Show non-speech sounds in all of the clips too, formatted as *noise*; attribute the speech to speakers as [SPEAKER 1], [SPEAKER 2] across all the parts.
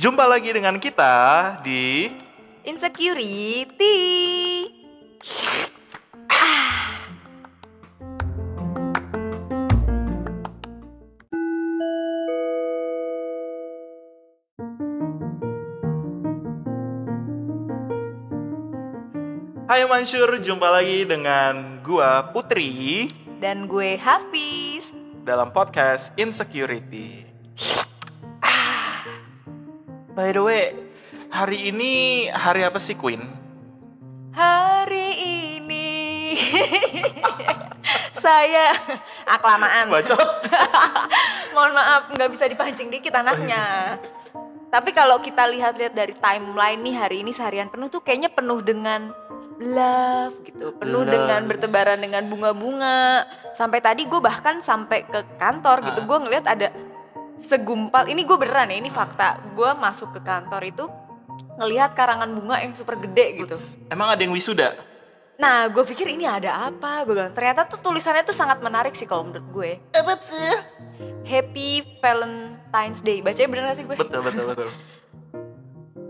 [SPEAKER 1] Jumpa lagi dengan kita di
[SPEAKER 2] Insecurity.
[SPEAKER 1] Hai Mansur, jumpa lagi dengan gua Putri
[SPEAKER 2] Dan gue Hafiz.
[SPEAKER 1] dalam podcast Insecurity. Ah, By the way, hari ini hari apa sih Queen?
[SPEAKER 2] Hari ini *laughs* saya aklamaan.
[SPEAKER 1] Bacot.
[SPEAKER 2] Mohon maaf nggak bisa dipancing dikit anaknya. Tapi kalau kita lihat-lihat dari timeline nih hari ini seharian penuh tuh kayaknya penuh dengan love gitu, penuh
[SPEAKER 1] Love.
[SPEAKER 2] dengan bertebaran dengan bunga-bunga. Sampai tadi gue bahkan sampai ke kantor
[SPEAKER 1] Ah.
[SPEAKER 2] gitu, gue ngeliat ada segumpal. Ini gue beneran ya, ini fakta. Gue masuk ke kantor itu ngelihat karangan bunga yang super gede gitu.
[SPEAKER 1] Emang ada yang wisuda?
[SPEAKER 2] Nah, gue pikir ini ada apa? Gue bilang ternyata tuh tulisannya tuh sangat menarik sih kalau menurut gue.
[SPEAKER 1] Apa sih?
[SPEAKER 2] Happy Valentine's Day. Bacanya bener gak sih gue?
[SPEAKER 1] Betul, betul, betul.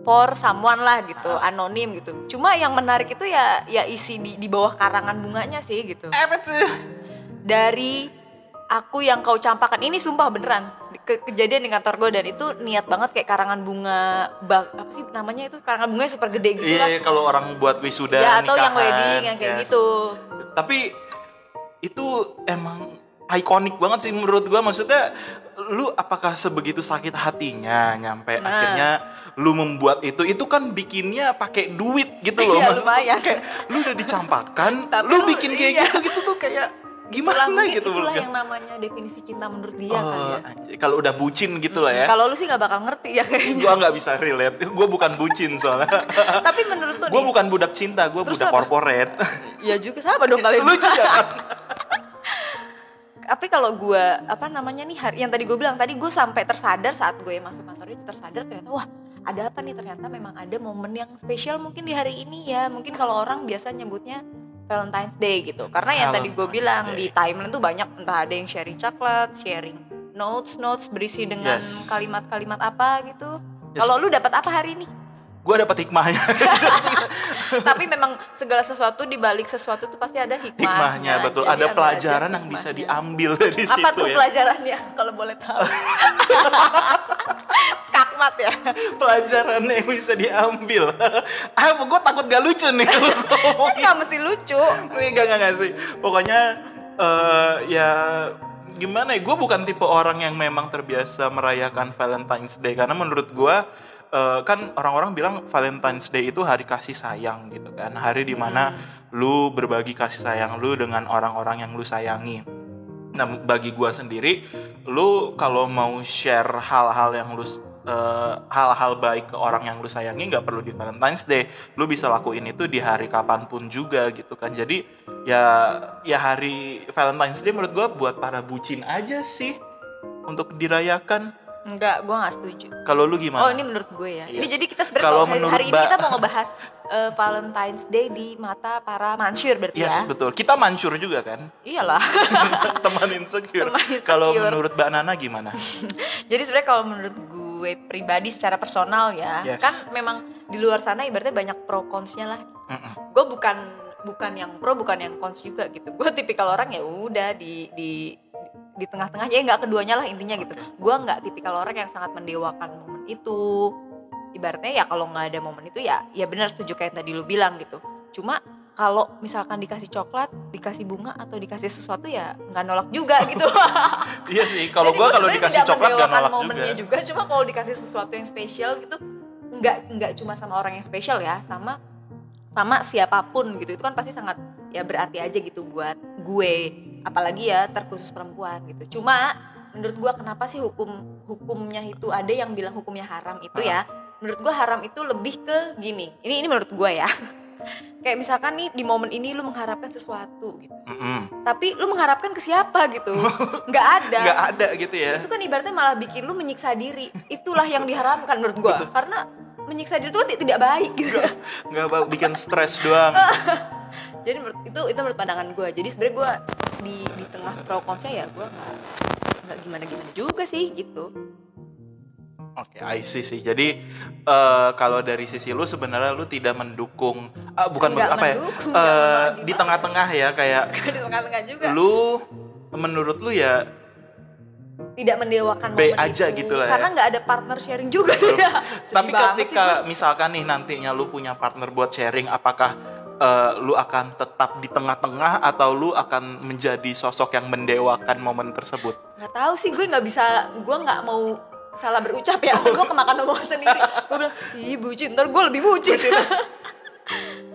[SPEAKER 2] For someone lah gitu,
[SPEAKER 1] Ah.
[SPEAKER 2] anonim gitu. Cuma yang menarik itu ya ya isi di di bawah karangan bunganya sih gitu.
[SPEAKER 1] Apa sih?
[SPEAKER 2] Dari aku yang kau campakan ini sumpah beneran Ke- kejadian di kantor gue dan itu niat banget kayak karangan bunga bak apa sih namanya itu karangan bunganya super gede gitu lah.
[SPEAKER 1] Iya, kalau orang buat wisuda
[SPEAKER 2] ya atau
[SPEAKER 1] nikahan,
[SPEAKER 2] yang wedding yang kayak
[SPEAKER 1] yes.
[SPEAKER 2] gitu.
[SPEAKER 1] tapi itu emang ikonik banget sih menurut gua maksudnya lu apakah sebegitu sakit hatinya nyampe
[SPEAKER 2] Nah.
[SPEAKER 1] akhirnya lu membuat itu itu kan bikinnya pakai duit gitu loh
[SPEAKER 2] Iya,
[SPEAKER 1] Maksudnya tuh
[SPEAKER 2] lumayan.
[SPEAKER 1] kayak lu udah dicampakan
[SPEAKER 2] *laughs* Tapi
[SPEAKER 1] lu
[SPEAKER 2] lu-
[SPEAKER 1] bikin kayak
[SPEAKER 2] iya.
[SPEAKER 1] gitu gitu tuh kayak gimana
[SPEAKER 2] Itulah, mungkin
[SPEAKER 1] gitu
[SPEAKER 2] itulah
[SPEAKER 1] menurut
[SPEAKER 2] yang namanya definisi cinta menurut
[SPEAKER 1] gua.
[SPEAKER 2] dia kan
[SPEAKER 1] Oh,
[SPEAKER 2] ya.
[SPEAKER 1] anjir, kalau udah bucin gitu lah ya
[SPEAKER 2] Kalau lu sih nggak bakal ngerti ya
[SPEAKER 1] *laughs*
[SPEAKER 2] kayaknya.
[SPEAKER 1] gua nggak bisa relate gua bukan bucin soalnya
[SPEAKER 2] Tapi menurut lu
[SPEAKER 1] Iya. gua
[SPEAKER 2] nih,
[SPEAKER 1] bukan budak cinta gua
[SPEAKER 2] Terus
[SPEAKER 1] budak
[SPEAKER 2] apa?
[SPEAKER 1] korporat
[SPEAKER 2] ya juga sama dong kalian.
[SPEAKER 1] *laughs* lu juga kan?
[SPEAKER 2] Tapi kalau gua apa namanya nih hari yang tadi gue bilang tadi gue sampai tersadar saat gue masuk kantor itu tersadar ternyata wah ada apa nih ternyata memang ada momen yang spesial mungkin di hari ini ya mungkin kalau orang biasa nyebutnya Valentine's Day gitu karena yang tadi gue
[SPEAKER 1] Valentine's
[SPEAKER 2] bilang
[SPEAKER 1] Day.
[SPEAKER 2] di timeline tuh banyak entah ada yang sharing coklat sharing notes notes berisi dengan
[SPEAKER 1] Yes.
[SPEAKER 2] kalimat-kalimat apa gitu
[SPEAKER 1] Yes.
[SPEAKER 2] kalau lu dapat apa hari
[SPEAKER 1] *laughs*
[SPEAKER 2] ini
[SPEAKER 1] gua dapat hikmahnya
[SPEAKER 2] tapi memang segala sesuatu di balik sesuatu tuh pasti ada hikmahnya.
[SPEAKER 1] hikmahnya betul
[SPEAKER 2] Jadi
[SPEAKER 1] ada
[SPEAKER 2] ambil aja
[SPEAKER 1] pelajaran yang bisa
[SPEAKER 2] hikmahnya.
[SPEAKER 1] diambil dari
[SPEAKER 2] Apa
[SPEAKER 1] situ
[SPEAKER 2] tuh
[SPEAKER 1] ya
[SPEAKER 2] pelajarannya kalau boleh
[SPEAKER 1] *laughs*
[SPEAKER 2] tahu? Skakmat ya.
[SPEAKER 1] pelajaran yang bisa diambil *laughs* apa gue takut gak lucu nih kalau *laughs* ngomong.
[SPEAKER 2] Kan nggak mesti lucu.
[SPEAKER 1] Nih, gak, gak, gak sih pokoknya eh, ya gimana ya gue bukan tipe orang yang memang terbiasa merayakan Valentine's Day karena menurut gue eh, kan orang-orang bilang Valentine's Day itu hari kasih sayang gitu kan hari dimana lu berbagi kasih sayang lu dengan orang-orang yang lu sayangi Nah, bagi gua sendiri, lu kalau mau share hal-hal yang lu eh, hal-hal baik ke orang yang lu sayangi nggak perlu di Valentine's Day. Lu bisa lakuin itu di hari kapanpun juga gitu kan. Jadi ya ya hari Valentine's Day menurut gua buat para bucin aja sih untuk dirayakan.
[SPEAKER 2] Enggak, gue nggak setuju.
[SPEAKER 1] Kalau lu
[SPEAKER 2] Oh
[SPEAKER 1] gimana?
[SPEAKER 2] ini menurut gue ya. Ini
[SPEAKER 1] Yes.
[SPEAKER 2] jadi kita sebenarnya
[SPEAKER 1] Kalau
[SPEAKER 2] kalau hari,
[SPEAKER 1] menurut
[SPEAKER 2] hari ini
[SPEAKER 1] Mbak-
[SPEAKER 2] kita mau ngebahas eh, Valentine's Day di mata para mansur berarti
[SPEAKER 1] Yes,
[SPEAKER 2] ya.
[SPEAKER 1] betul. Kita mancur juga
[SPEAKER 2] *laughs*
[SPEAKER 1] kan.
[SPEAKER 2] Iyalah.
[SPEAKER 1] Teman insecure.
[SPEAKER 2] Teman insecure.
[SPEAKER 1] Kalau menurut Mbak Nana gimana?
[SPEAKER 2] Jadi sebenarnya kalau menurut gue pribadi secara personal ya,
[SPEAKER 1] Yes.
[SPEAKER 2] kan memang di luar sana ibaratnya banyak pro cons-nya lah.
[SPEAKER 1] Mm-mm.
[SPEAKER 2] Gue bukan bukan yang pro, bukan yang cons juga gitu. Gue tipikal orang ya udah di di di tengah-tengah aja nggak keduanya lah intinya gitu. Gue nggak tipikal orang yang sangat mendewakan momen itu. Ibaratnya ya kalau nggak ada momen itu ya ya benar setuju kayak yang tadi lu bilang gitu. Cuma kalau misalkan dikasih coklat, dikasih bunga atau dikasih sesuatu ya nggak nolak juga gitu.
[SPEAKER 1] Iya sih, kalau
[SPEAKER 2] Jadi
[SPEAKER 1] gua
[SPEAKER 2] gua
[SPEAKER 1] kalau
[SPEAKER 2] sebenarnya
[SPEAKER 1] dikasih
[SPEAKER 2] tidak
[SPEAKER 1] coklat gak
[SPEAKER 2] mendewakan
[SPEAKER 1] nolak
[SPEAKER 2] momennya
[SPEAKER 1] juga.
[SPEAKER 2] juga. Cuma kalau dikasih sesuatu yang spesial gitu, nggak nggak cuma sama orang yang spesial ya, sama sama siapapun gitu. Itu kan pasti sangat ya berarti aja gitu buat gue. Apalagi ya terkhusus perempuan gitu. Cuma menurut gue kenapa sih hukum hukumnya itu ada yang bilang hukumnya haram itu ya? Menurut gue haram itu lebih ke gini. Ini ini menurut gue ya. *laughs* Kayak misalkan nih di momen ini lu mengharapkan sesuatu gitu.
[SPEAKER 1] Mm-mm.
[SPEAKER 2] Tapi lu mengharapkan ke siapa gitu?
[SPEAKER 1] *laughs*
[SPEAKER 2] Nggak ada
[SPEAKER 1] nggak ada gitu ya
[SPEAKER 2] itu kan ibaratnya malah bikin lu menyiksa diri itulah yang diharamkan menurut gua karena menyiksa diri itu kan ti- tidak baik gitu
[SPEAKER 1] nggak apa bikin stres doang
[SPEAKER 2] *laughs* jadi menurut itu itu menurut pandangan gua jadi sebenarnya gua di di tengah pro konsa ya gua nggak nggak gimana gimana juga sih gitu
[SPEAKER 1] Oke, I see sih. Jadi eh, kalau dari sisi lu sebenarnya lu tidak mendukung ah, bukan men-
[SPEAKER 2] Nggak
[SPEAKER 1] apa ya? eh,
[SPEAKER 2] mendukung, nggak menolak
[SPEAKER 1] di
[SPEAKER 2] gimana.
[SPEAKER 1] tengah-tengah ya kayak
[SPEAKER 2] *laughs* di tengah-tengah juga
[SPEAKER 1] lu menurut lu ya
[SPEAKER 2] tidak mendewakan
[SPEAKER 1] Be
[SPEAKER 2] momen
[SPEAKER 1] aja
[SPEAKER 2] itu.
[SPEAKER 1] gitu lah ya.
[SPEAKER 2] karena nggak ada partner sharing juga sih ya. Sedih
[SPEAKER 1] tapi
[SPEAKER 2] banget sih
[SPEAKER 1] ketika misalkan nih nantinya lu punya partner buat sharing apakah eh, lu akan tetap di tengah-tengah atau lu akan menjadi sosok yang mendewakan momen tersebut?
[SPEAKER 2] gue. nggak tahu sih gue nggak bisa gue nggak mau salah berucap ya *laughs* gue kemakan omongan sendiri gue bilang ih bucin ntar gue lebih bucin *laughs*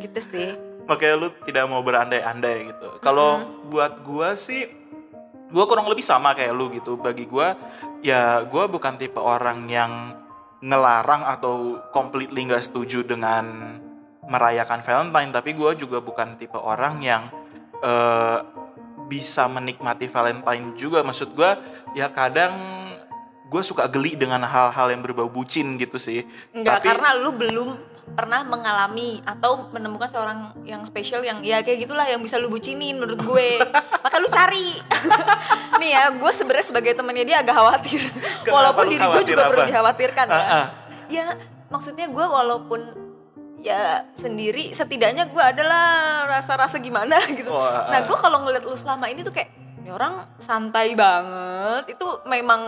[SPEAKER 2] gitu sih
[SPEAKER 1] makanya lu tidak mau berandai-andai gitu. Kalau buat gua sih gua kurang lebih sama kayak lu gitu. Bagi gua ya gua bukan tipe orang yang ngelarang atau completely nggak setuju dengan merayakan Valentine, tapi gua juga bukan tipe orang yang eh, bisa menikmati Valentine juga. Maksud gua ya kadang gue suka geli dengan hal-hal yang berbau bucin gitu sih.
[SPEAKER 2] Enggak,
[SPEAKER 1] Tapi-
[SPEAKER 2] karena lu belum pernah mengalami atau menemukan seorang yang spesial yang ya kayak gitulah yang bisa lu bucinin menurut
[SPEAKER 1] *laughs*
[SPEAKER 2] gue. Maka lu cari. *laughs* Nih ya, gue sebenarnya sebagai temannya dia agak khawatir.
[SPEAKER 1] *laughs* Kenapa
[SPEAKER 2] walaupun
[SPEAKER 1] lu
[SPEAKER 2] diri gue juga
[SPEAKER 1] khawatir
[SPEAKER 2] perlu
[SPEAKER 1] apa?
[SPEAKER 2] dikhawatirkan ya.
[SPEAKER 1] Ah, ah.
[SPEAKER 2] Ya, maksudnya gue walaupun ya sendiri setidaknya gue adalah rasa-rasa gimana *laughs* gitu.
[SPEAKER 1] Wah,
[SPEAKER 2] Nah
[SPEAKER 1] ah.
[SPEAKER 2] gue kalau ngeliat lu selama ini tuh kayak "Ini orang santai banget itu memang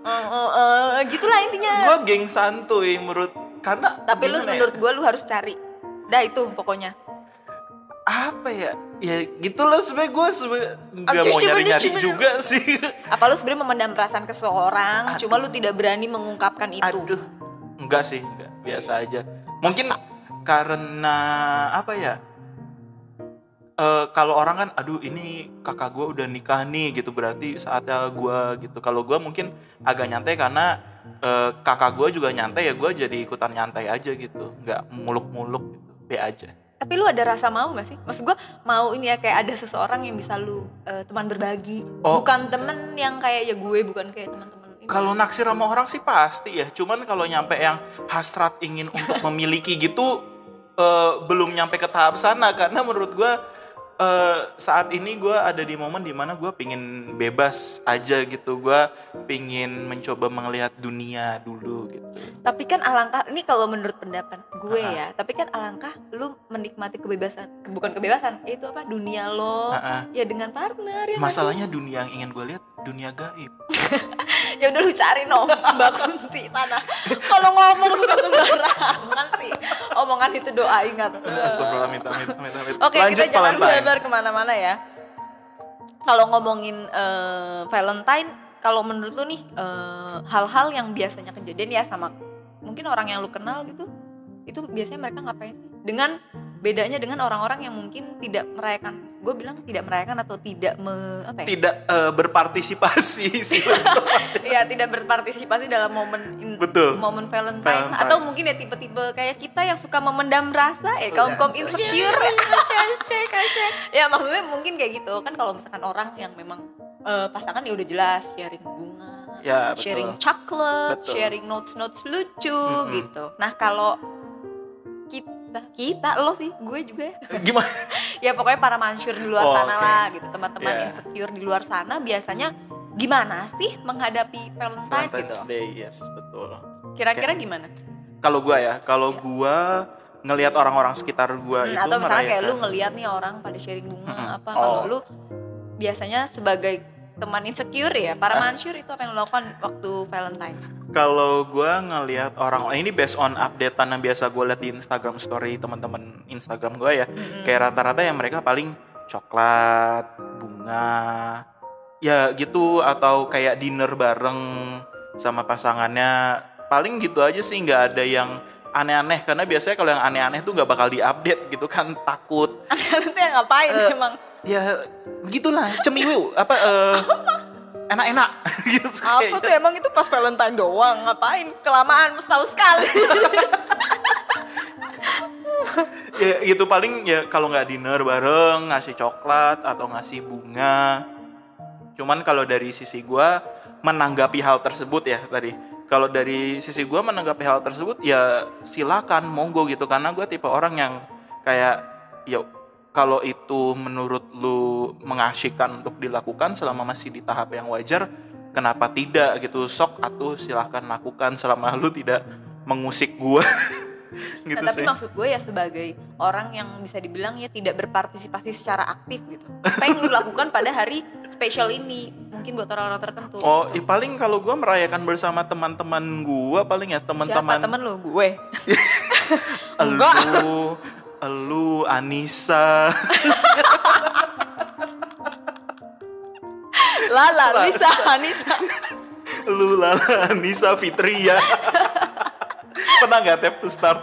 [SPEAKER 2] eh, eh, eh," gitulah intinya
[SPEAKER 1] gue geng santuy menurut karena
[SPEAKER 2] tapi lu
[SPEAKER 1] gimana ya,
[SPEAKER 2] menurut gue lu harus cari dah itu pokoknya
[SPEAKER 1] apa ya ya gitu loh sebenernya gue nggak
[SPEAKER 2] Aduh,
[SPEAKER 1] mau
[SPEAKER 2] shiver
[SPEAKER 1] nyari
[SPEAKER 2] nih,
[SPEAKER 1] nyari
[SPEAKER 2] shiver.
[SPEAKER 1] juga sih
[SPEAKER 2] apa lu sebenarnya memendam perasaan ke seseorang cuma lu tidak berani mengungkapkan itu
[SPEAKER 1] aduh enggak sih enggak biasa aja mungkin karena apa ya Eh kalau orang kan aduh ini kakak gue udah nikah nih gitu berarti saatnya gue gitu kalau gue mungkin agak nyantai karena eh, kakak gue juga nyantai ya gue jadi ikutan nyantai aja gitu nggak muluk-muluk gitu be aja
[SPEAKER 2] tapi lu ada rasa mau gak sih maksud gue mau ini ya kayak ada seseorang yang bisa lu eh, teman berbagi
[SPEAKER 1] Oh.
[SPEAKER 2] bukan temen yang kayak ya gue bukan kayak teman-teman ini.
[SPEAKER 1] Kalau naksir sama orang sih pasti ya. Cuman kalau nyampe yang hasrat ingin
[SPEAKER 2] *laughs*
[SPEAKER 1] untuk memiliki gitu eh, belum nyampe ke tahap sana karena menurut gua eh, saat ini gua ada di momen dimana gua pingin bebas aja gitu. Gua pingin mencoba melihat dunia dulu gitu.
[SPEAKER 2] tapi kan alangkah ini kalau menurut pendapat gue
[SPEAKER 1] Ah.
[SPEAKER 2] ya tapi kan alangkah lu menikmati kebebasan bukan kebebasan itu apa dunia lo
[SPEAKER 1] Ah, ah.
[SPEAKER 2] ya dengan partner ya nggak sih?
[SPEAKER 1] Masalahnya dunia yang ingin gue lihat dunia gaib.
[SPEAKER 2] ya udah lu cari nom mbak Kunti sana kalau ngomong suka sembarangan sih omongan itu doa ingat
[SPEAKER 1] Astagfirullah, amit, amit, amit, amit.
[SPEAKER 2] Eh. oke
[SPEAKER 1] Lanjut
[SPEAKER 2] kita jangan
[SPEAKER 1] Valentine.
[SPEAKER 2] lebar kemana-mana ya kalau ngomongin eh, Valentine kalau menurut lu nih eh, hal-hal yang biasanya kejadian ya sama mungkin orang yang lu kenal gitu itu biasanya mereka ngapain sih dengan bedanya dengan orang-orang yang mungkin tidak merayakan gue bilang tidak merayakan atau tidak me, apa ya
[SPEAKER 1] Tidak eh, berpartisipasi sih. *laughs*
[SPEAKER 2] ya tidak berpartisipasi dalam momen in-
[SPEAKER 1] Betul.
[SPEAKER 2] momen Valentine,
[SPEAKER 1] Valentine.
[SPEAKER 2] atau mungkin ya tipe-tipe kayak kita yang suka memendam
[SPEAKER 1] Oh,
[SPEAKER 2] rasa
[SPEAKER 1] iya.
[SPEAKER 2] ya kaum kaum insecure ya maksudnya mungkin kayak gitu kan kalau misalkan orang yang memang eh, pasangan ya udah jelas sharing bunga
[SPEAKER 1] Ya, betul.
[SPEAKER 2] sharing coklat
[SPEAKER 1] Betul.
[SPEAKER 2] sharing notes notes lucu
[SPEAKER 1] Mm-mm.
[SPEAKER 2] gitu nah kalau kita kita lo sih gue juga ya
[SPEAKER 1] Gimana?
[SPEAKER 2] ya pokoknya para mansur di luar
[SPEAKER 1] Oh, oke.
[SPEAKER 2] sana
[SPEAKER 1] Iya.
[SPEAKER 2] lah gitu teman-teman
[SPEAKER 1] Yeah.
[SPEAKER 2] insecure di luar sana biasanya gimana sih menghadapi Valentine's, gitu
[SPEAKER 1] Valentine's Day, yes, betul.
[SPEAKER 2] kira-kira gimana
[SPEAKER 1] Kalau gua ya, kalau gua ngelihat orang-orang sekitar gua
[SPEAKER 2] Iya. Hmm,
[SPEAKER 1] itu
[SPEAKER 2] atau misalnya kayak lu
[SPEAKER 1] merayakan-
[SPEAKER 2] ngeliat nih orang pada sharing bunga
[SPEAKER 1] Mm-mm.
[SPEAKER 2] apa kalau
[SPEAKER 1] Oh.
[SPEAKER 2] lu biasanya sebagai teman insecure ya para mansur itu apa yang lo lakukan waktu Valentine's
[SPEAKER 1] kalau gua ngelihat orang oh, ini based on updatean yang biasa gua lihat di Instagram story teman-teman Instagram gua ya,
[SPEAKER 2] Hmm.
[SPEAKER 1] kayak rata-rata yang mereka paling coklat, bunga, ya gitu atau kayak dinner bareng sama pasangannya paling gitu aja sih nggak ada yang aneh-aneh karena biasanya kalau yang aneh-aneh tuh nggak bakal diupdate gitu kan takut
[SPEAKER 2] *laughs* itu yang ngapain
[SPEAKER 1] Eh,
[SPEAKER 2] emang
[SPEAKER 1] ya begitulah cemiwu apa eh, enak-enak *laughs* gitu
[SPEAKER 2] apa
[SPEAKER 1] kayaknya.
[SPEAKER 2] tuh emang itu pas Valentine doang ngapain kelamaan setahun sekali
[SPEAKER 1] ya gitu paling ya kalau nggak dinner bareng ngasih coklat atau ngasih bunga cuman kalau dari sisi gua menanggapi hal tersebut ya tadi kalau dari sisi gua menanggapi hal tersebut ya silakan monggo gitu karena gua tipe orang yang kayak ya kalau itu menurut lu mengasyikkan untuk dilakukan selama masih di tahap yang wajar kenapa tidak gitu sok atuh silahkan lakukan selama lu tidak mengusik gua *laughs* gitu
[SPEAKER 2] Nah, tapi
[SPEAKER 1] sih
[SPEAKER 2] maksud gue ya sebagai orang yang bisa dibilang ya tidak berpartisipasi secara aktif gitu. Apa yang lu lakukan pada hari spesial ini? Mungkin buat orang-orang tertentu.
[SPEAKER 1] oh ya paling kalau gua merayakan bersama teman-teman gua paling ya
[SPEAKER 2] Siapa
[SPEAKER 1] teman-teman
[SPEAKER 2] temen lu? Gue. Enggak.
[SPEAKER 1] elu *laughs* elu Anissa *laughs*
[SPEAKER 2] Lala, Lisa, Anissa.
[SPEAKER 1] elu Lala Anissa Fitria *laughs* pernah nggak tap to start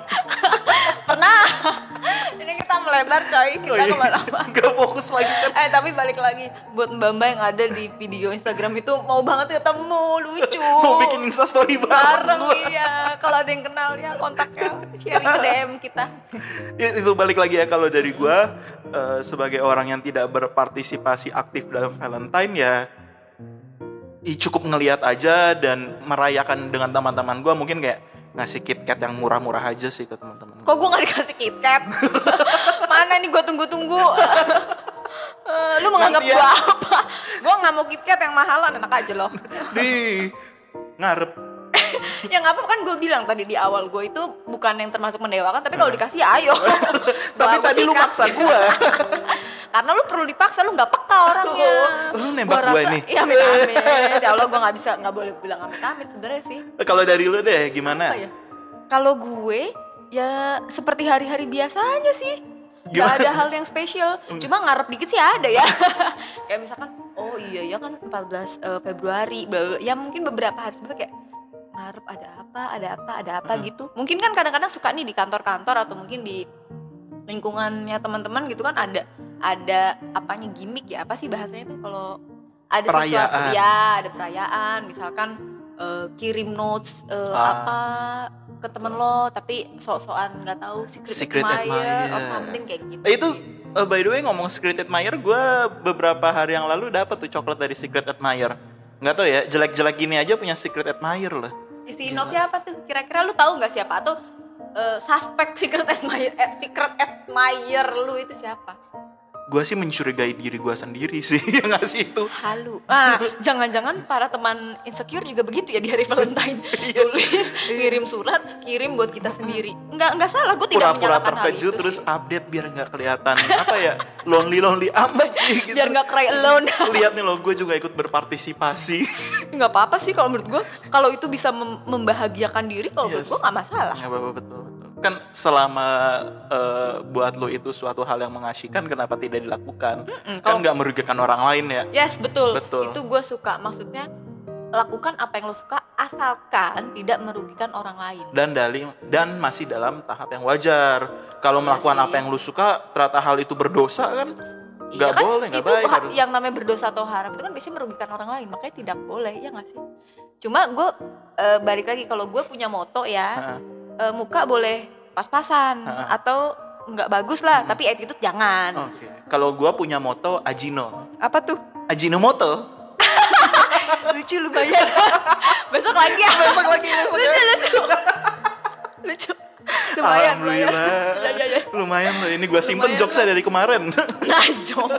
[SPEAKER 2] Pernah. *laughs* Ini kita melebar coy, kita
[SPEAKER 1] Oh, iya.
[SPEAKER 2] kemana-mana.
[SPEAKER 1] nggak fokus lagi kan
[SPEAKER 2] Eh tapi balik lagi buat Mbak Mbak yang ada di video Instagram itu mau banget ketemu lucu.
[SPEAKER 1] *laughs* mau bikin Insta story bareng,
[SPEAKER 2] Oh. bareng iya. Kalau ada yang kenal ya kontaknya sharing ke DM kita.
[SPEAKER 1] Ya, itu balik lagi ya kalau dari gua eh, sebagai orang yang tidak berpartisipasi aktif dalam Valentine ya i- cukup ngelihat aja dan merayakan dengan teman-teman gua mungkin kayak ngasih KitKat yang murah-murah aja sih ke teman-teman.
[SPEAKER 2] Kok gue gak dikasih KitKat? *laughs* Mana nih gue
[SPEAKER 1] *laughs*
[SPEAKER 2] tunggu-tunggu? Eh, lu menganggap
[SPEAKER 1] Nanti ya.
[SPEAKER 2] gue apa? Gue gak mau KitKat yang mahalan, enak aja loh.
[SPEAKER 1] Di ngarep
[SPEAKER 2] *laughs* yang apa kan gue bilang tadi di awal gue itu bukan yang termasuk mendewakan, tapi kalau dikasih ya ayo.
[SPEAKER 1] Hmm. *laughs* Tapi
[SPEAKER 2] Bagus
[SPEAKER 1] tadi
[SPEAKER 2] sih,
[SPEAKER 1] lu
[SPEAKER 2] Kak.
[SPEAKER 1] maksa gua.
[SPEAKER 2] *laughs* Karena lu perlu dipaksa, lu gak peka orangnya.
[SPEAKER 1] Oh, lu nembak
[SPEAKER 2] Gua
[SPEAKER 1] gua
[SPEAKER 2] rasa-
[SPEAKER 1] nih.
[SPEAKER 2] Iya
[SPEAKER 1] *laughs*
[SPEAKER 2] amit-amit. ya Allah gue gak bisa, gak boleh bilang amit-amit sebenarnya sih.
[SPEAKER 1] Eh, Kalau dari lu deh
[SPEAKER 2] Apa
[SPEAKER 1] gimana?
[SPEAKER 2] ya? Kalau gue ya seperti hari-hari biasanya sih.
[SPEAKER 1] Gimana? Mm.
[SPEAKER 2] Gak ada hal yang spesial. Cuma ngarep dikit sih ada ya. *laughs* kayak misalkan oh iya ya kan 14 eh, Februari bla bla. ya mungkin beberapa hari sebelumnya kayak ngarep ada apa, ada apa, ada apa
[SPEAKER 1] Hmm.
[SPEAKER 2] gitu. Mungkin kan kadang-kadang suka nih di kantor-kantor atau mungkin di lingkungannya teman-teman gitu kan ada ada apanya gimmick ya apa sih bahasanya tuh kalau ada sesuatu
[SPEAKER 1] Perayaan.
[SPEAKER 2] ya ada perayaan misalkan eh, kirim notes eh,
[SPEAKER 1] Ah.
[SPEAKER 2] apa ke temen lo tapi sok-sokan nggak tahu secret,
[SPEAKER 1] Secret
[SPEAKER 2] admirer, or
[SPEAKER 1] admirer.
[SPEAKER 2] something kayak gitu
[SPEAKER 1] Eh, Itu eh, by the way ngomong Secret Admirer gua beberapa hari yang lalu dapat tuh coklat dari Secret Admirer. Nggak tau ya, jelek-jelek gini aja punya Secret Admirer lah.
[SPEAKER 2] isi
[SPEAKER 1] Gila.
[SPEAKER 2] notesnya apa tuh kira-kira lu tahu nggak siapa atau eh, suspek secret admirer eh, secret admirer lu itu siapa
[SPEAKER 1] gue sih mencurigai diri gue sendiri sih *laughs* yang ngasih itu
[SPEAKER 2] halu ah jangan-jangan para teman insecure juga begitu ya di hari
[SPEAKER 1] *laughs*
[SPEAKER 2] Valentine
[SPEAKER 1] Iya.
[SPEAKER 2] tulis kirim surat kirim buat kita sendiri nggak nggak salah gue tidak
[SPEAKER 1] pura-pura
[SPEAKER 2] menyalahkan hal itu
[SPEAKER 1] terkejut terus
[SPEAKER 2] sih.
[SPEAKER 1] update biar nggak kelihatan apa ya lonely lonely amat sih gitu
[SPEAKER 2] biar nggak cry alone
[SPEAKER 1] lihat nih lo gue juga ikut berpartisipasi
[SPEAKER 2] nggak apa-apa sih kalau menurut gue kalau itu bisa mem- membahagiakan diri kalau
[SPEAKER 1] Yes.
[SPEAKER 2] menurut gue nggak masalah
[SPEAKER 1] nggak apa-apa betul, betul. kan selama eh, buat lo itu suatu hal yang mengasyikan kenapa tidak dilakukan
[SPEAKER 2] Mm-mm,
[SPEAKER 1] kan
[SPEAKER 2] kalau-
[SPEAKER 1] nggak merugikan orang lain ya
[SPEAKER 2] yes betul,
[SPEAKER 1] Betul.
[SPEAKER 2] itu gue suka maksudnya lakukan apa yang lo suka asalkan tidak merugikan orang lain
[SPEAKER 1] dan dari dan masih dalam tahap yang wajar kalau
[SPEAKER 2] Iya
[SPEAKER 1] melakukan
[SPEAKER 2] sih.
[SPEAKER 1] apa yang lo suka ternyata hal itu berdosa kan
[SPEAKER 2] Iya
[SPEAKER 1] nggak
[SPEAKER 2] kan?
[SPEAKER 1] boleh nggak
[SPEAKER 2] itu
[SPEAKER 1] baik
[SPEAKER 2] ha-
[SPEAKER 1] harus-
[SPEAKER 2] yang namanya berdosa atau haram itu kan biasanya merugikan orang lain makanya tidak boleh ya nggak sih cuma gue eh, balik lagi kalau gue punya moto ya
[SPEAKER 1] Heeh.
[SPEAKER 2] eh, muka boleh pas-pasan
[SPEAKER 1] Ha-ha. Oh.
[SPEAKER 2] atau nggak bagus lah tapi attitude jangan
[SPEAKER 1] Oke, kalau gue punya moto Ajino,
[SPEAKER 2] apa tuh
[SPEAKER 1] Ajinomoto.
[SPEAKER 2] *laughs* lucu lumayan *laughs* besok lagi ya
[SPEAKER 1] Besok lagi besok ya.
[SPEAKER 2] lucu lumayan
[SPEAKER 1] Alhamdulillah.
[SPEAKER 2] lumayan. *laughs* ya, ya, ya.
[SPEAKER 1] Lumayan loh ini gue simpen
[SPEAKER 2] Lumayan
[SPEAKER 1] jokesnya dari kemarin. *laughs*
[SPEAKER 2] najong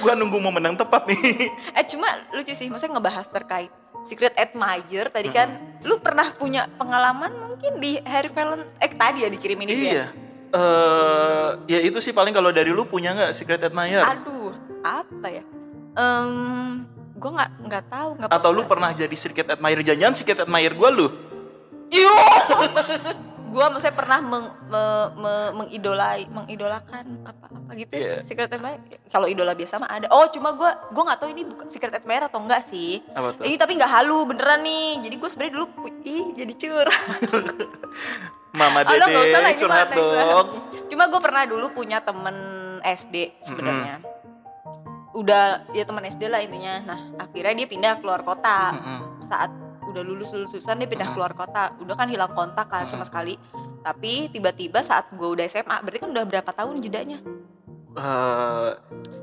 [SPEAKER 1] gue nunggu momen yang tepat nih.
[SPEAKER 2] eh cuma lucu sih maksudnya ngebahas terkait secret admirer tadi kan lu pernah punya pengalaman mungkin di Harry Valentine eh tadi ya dikirimin itu ya
[SPEAKER 1] iya. Eh, ya itu sih paling kalau dari lu punya nggak secret
[SPEAKER 2] Iya.
[SPEAKER 1] admirer?
[SPEAKER 2] aduh apa ya Em, gue nggak nggak tahu nggak
[SPEAKER 1] Atau lu pernah jadi secret admirer? Jangan secret admirer gue lu?
[SPEAKER 2] *laughs* gue maksudnya pernah meng, me- me- mengidolai mengidolakan apa apa gitu ya
[SPEAKER 1] Iya.
[SPEAKER 2] secret admirer kalau idola biasa mah ada oh cuma gue gue nggak tahu ini bukan secret admirer atau enggak sih
[SPEAKER 1] Apa tuh?
[SPEAKER 2] Ini tapi nggak halu beneran nih. Jadi gue sebenarnya dulu pu- ih jadi curhat.
[SPEAKER 1] *laughs* Mama
[SPEAKER 2] Ah,
[SPEAKER 1] Dede
[SPEAKER 2] lo nggak usah lah, ini
[SPEAKER 1] curhat
[SPEAKER 2] mah next lah.
[SPEAKER 1] dong.
[SPEAKER 2] Cuma gue pernah dulu punya temen SD sebenarnya. Udah ya temen SD lah intinya. Nah akhirnya dia pindah keluar kota
[SPEAKER 1] Mm-mm.
[SPEAKER 2] saat udah lulus lulusan dia pindah
[SPEAKER 1] Mm.
[SPEAKER 2] keluar kota. Udah kan hilang kontak kan
[SPEAKER 1] Ah.
[SPEAKER 2] sama sekali. Tapi tiba-tiba saat gue udah SMA berarti kan udah berapa tahun jedanya?
[SPEAKER 1] Eh,